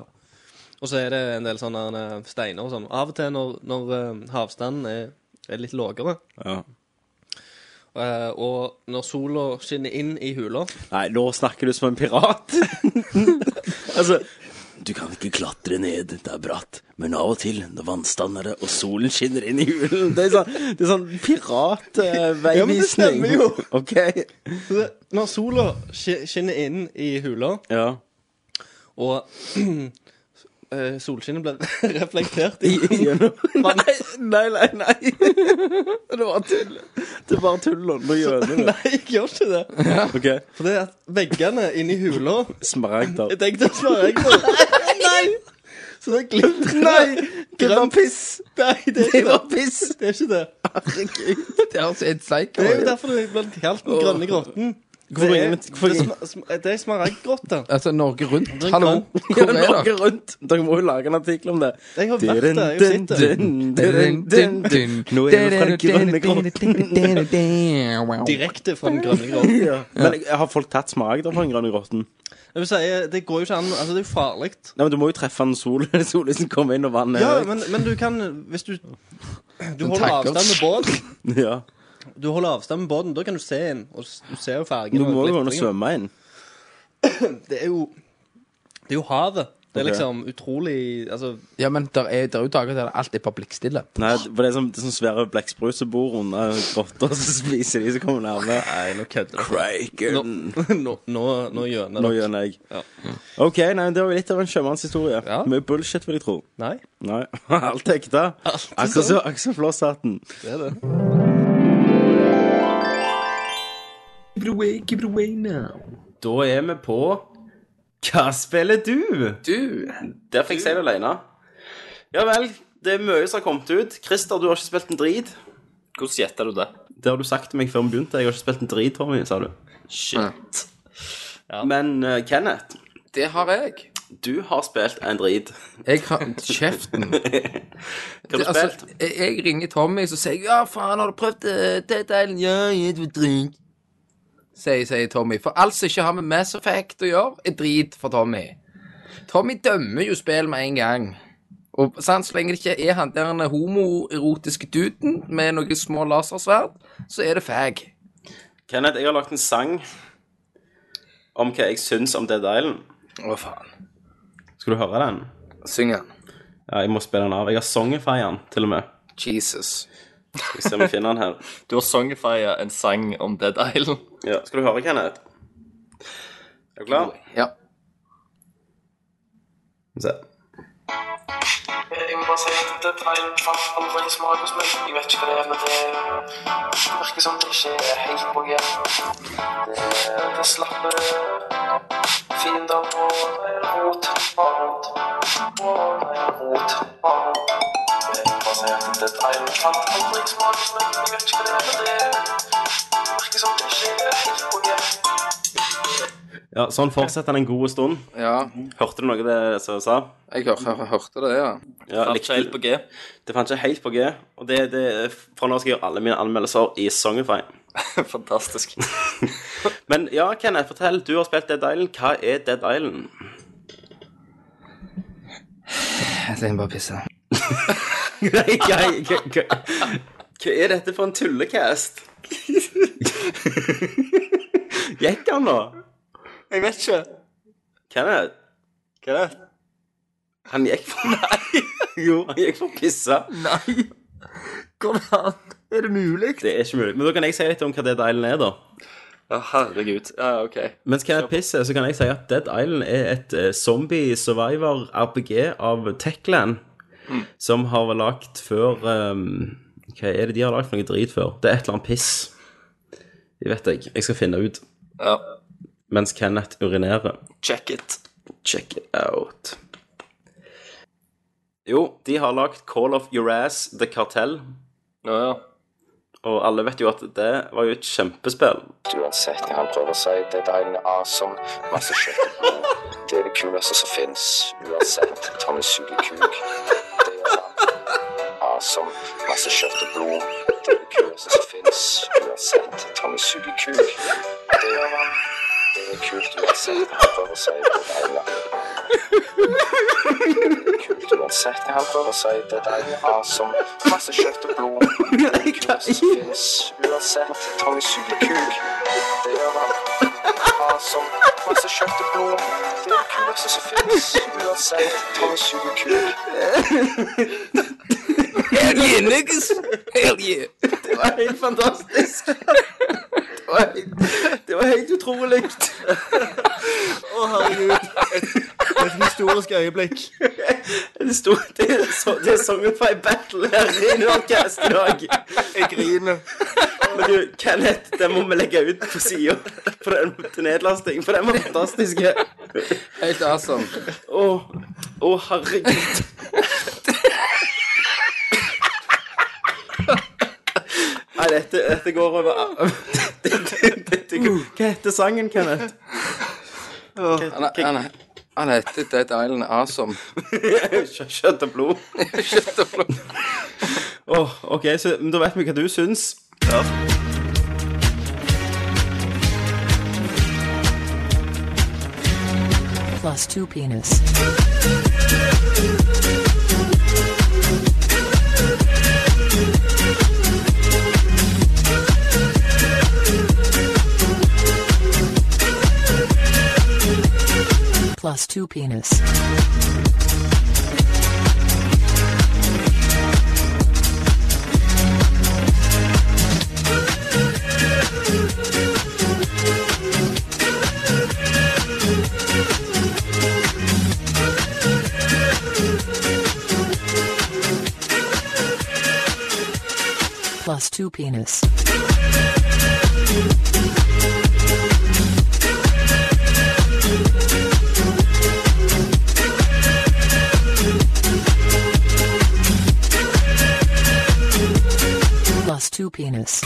Og så er det en del sånne eh, steiner og sånn. Av og til når, når eh, havstanden er, er litt lavere, Ja. eh, og når sola skinner inn i hula Nei, nå snakker du som en pirat. *laughs* altså Du kan ikke klatre ned, det er bratt. Men av og til, når vannstanden er det, og solen skinner inn i hulen Det er sånn, det er sånn piratveivisning. Ja, men det stemmer jo. OK. Så Når sola sk- skinner inn i hula, Ja. og *clears throat* eh, solskinnet blir *laughs* reflektert i Gjennom Nei, nei, nei. nei. Det var tull. Det er bare tull. Nå gjør det det. Nei, jeg gjør ikke det. OK. For det er at veggene inni hula Smaragder. Jeg tenkte å svare jeg på Nei! Så det glimter Nei! Det var piss. Nei, Det det er ikke det. var piss. Det er ikke det. Det er altså et psycho. Det er jo derfor det blir kalt Den grønne grotten. Hvorfor det ringer er, vi- hvorfor det er ringer- sma- sma- det er smaragdgrotte. Altså, Norge Rundt. Den Hallo, grønne- hvor er dere? Norge rundt. Dere må jo lage en artikkel om det. Jeg har vært der, jeg Dun, sitter. dun, dun, dun, dun. Nå er vi fra den grønne grotten. Direkte fra den grønne grotten. ja. Men jeg- har folk tatt smak da fra den grønne grotten? Jeg vil si, eh, det går jo ikke an Altså, det er jo farlig. Nei, men Du må jo treffe en sol liksom sollisen kommer inn, og vannet Ja, er *laughs* men, men du kan Hvis du Du Den holder takker. avstand med båten. Ja. Du holder avstand med båten, da kan du se inn. Og s- du ser jo fargen. Du og må jo gå inn og glittringen. svømme inn. Det er jo Det er jo havet. Det er Ok. liksom utrolig Altså *laughs* Ja, men der er, der er jo dager der det alltid er bare blikkstille. Nei, for det er sånn, det er sånn svære blekksprut som bor under grotta, og så spiser de som kommer nærme. Nei, nå kødder du. Kraken. Nå, nå, nå gjør Nå gjør jeg. OK, nei, men det var jo litt av en sjømannshistorie. Mye bullshit, vil jeg tro. Nei. Nei, *laughs* Alt er ekte. Akkurat som- akkurat som Flosshatten. Det er det. Give it away, give it away now. Da er vi på Hva spiller du? Du, der fikk jeg det alene. Ja vel, det er mye som har kommet ut. Christer, du har ikke spilt en drit. Hvordan gjetter du det? Det har du sagt til meg før vi begynte. Jeg har ikke spilt en drit, Tommy, sa du. Shit. Men eh, Kenneth Det har jeg. Du har spilt en drit. Jeg har Kjeften. Hva har du altså, spilt? jeg, Altså, jeg ringer Tommy, så sier jeg Ja, faen, har du prøvd eh, T-Delen? Ja, jeg er drink. Sier, sier Tommy. For alt som ikke har med Mass Effect å gjøre, er drit for Tommy. Tommy dømmer jo spill med en gang. Og sant, Så lenge det ikke er han der den homoerotiske duden med noen små lasersverd, så er det fag. Kenneth, jeg har lagt en sang om hva jeg syns om Dead Island. Å, faen. Skal du høre den? Syng den. Ja, jeg må spille den av. Jeg har Songify den, til og med. Jesus. Skal vi se om jeg finner den her. Du har songifia en sang om Dead Island. Ja, Skal du høre, Kenneth? Er du klar? Ja. Se. Jeg må bare si at det er en fast andre i smak hos meg. Jeg vet ikke hva det er, men det virker som det ikke er helt på G. Det er- Det er slappe fiender og rot og rot og rot og rot. Jeg må bare si at det er en fast andre i smak hos meg. Jeg vet ikke hva det er, men det virker som det ikke er helt på G. Ja, sånn fortsetter den en god stund. Ja. Hørte du noe det som sa? Jeg hør, hør, hørte det, ja. Ja, Fant ikke helt på G. Det fant ikke helt på G. Og det, det, fra nå skal jeg gjøre alle mine anmeldelser i Songify. *laughs* Fantastisk. *laughs* Men ja, Kenneth, fortell. Du har spilt Dead Island. Hva er Dead Island? Jeg trenger bare å pisse. Nei, hva, hva, hva, hva er dette for en tullecast? Gikk han nå? Jeg vet ikke. Kenneth? Kenneth? Han gikk for Nei! jo, han gikk for pissa. Nei! Hvordan er det mulig? Det er ikke mulig. Men da kan jeg si litt om hva Dead Island er, da. Ja, herregud. Ja, ja, ok. Mens hva er pisset, så kan jeg si at Dead Island er et eh, zombie survivor RPG av Techland. Som har vel lagt før ehm, Hva er det de har lagt for noe drit før? Det er et eller annet piss. Det vet jeg. Jeg skal finne ut. Ja. Mens Kenneth urinerer. Check it. Check it out. Jo, de har lagt Call of Uraz The Cartel. Ja, ja. Og alle vet jo at det var jo et kjempespill. Uansett hva han prøver å si, det er deilig awesome. Masse kjøtt. Det er det kuleste som fins. Uansett, Tommy suger kuk. Det er gjør han. Awesome. Masse kjøtt og blod. Det er det kuleste som fins. Uansett, Tommy suger kuk. Det gjør han. Det er kult uansett hva han prøver å si, det er deilig. Det er kult uansett hva han prøver å si, det er deilig. Awesome. Masse kjøtt og blod. Det er det kuleste som fins. Uansett, Tommy suger kuk. Det gjør han. Awesome. Masse kjøtt og blod. Det er det kuleste som fins. Uansett, Tommy suger kuk. Hell yeah, niggas! Hell yeah! Det var helt fantastisk. Det var helt, det var helt utrolig. Å, herregud. Et, et historisk øyeblikk. Det, sto, det, er så, det er Songify Battle her i Nordcast i dag. Jeg griner. Men du, Kenneth, den må vi legge ut på sida til nedlasting, for den var fantastisk. Helt awesome. Å, å, herregud. Nei, dette, dette går over dette, dette, går- Hva heter sangen, Kenneth? Han, er- han, er- han heter Dead Island Awesome. *laughs* Kjøtt og blod. *laughs* Kjøtt og blod. Åh, ok, så men da vet vi hva du syns. Ja. Plus two penis. Plus two penis. Plus two penis. Plus two penis.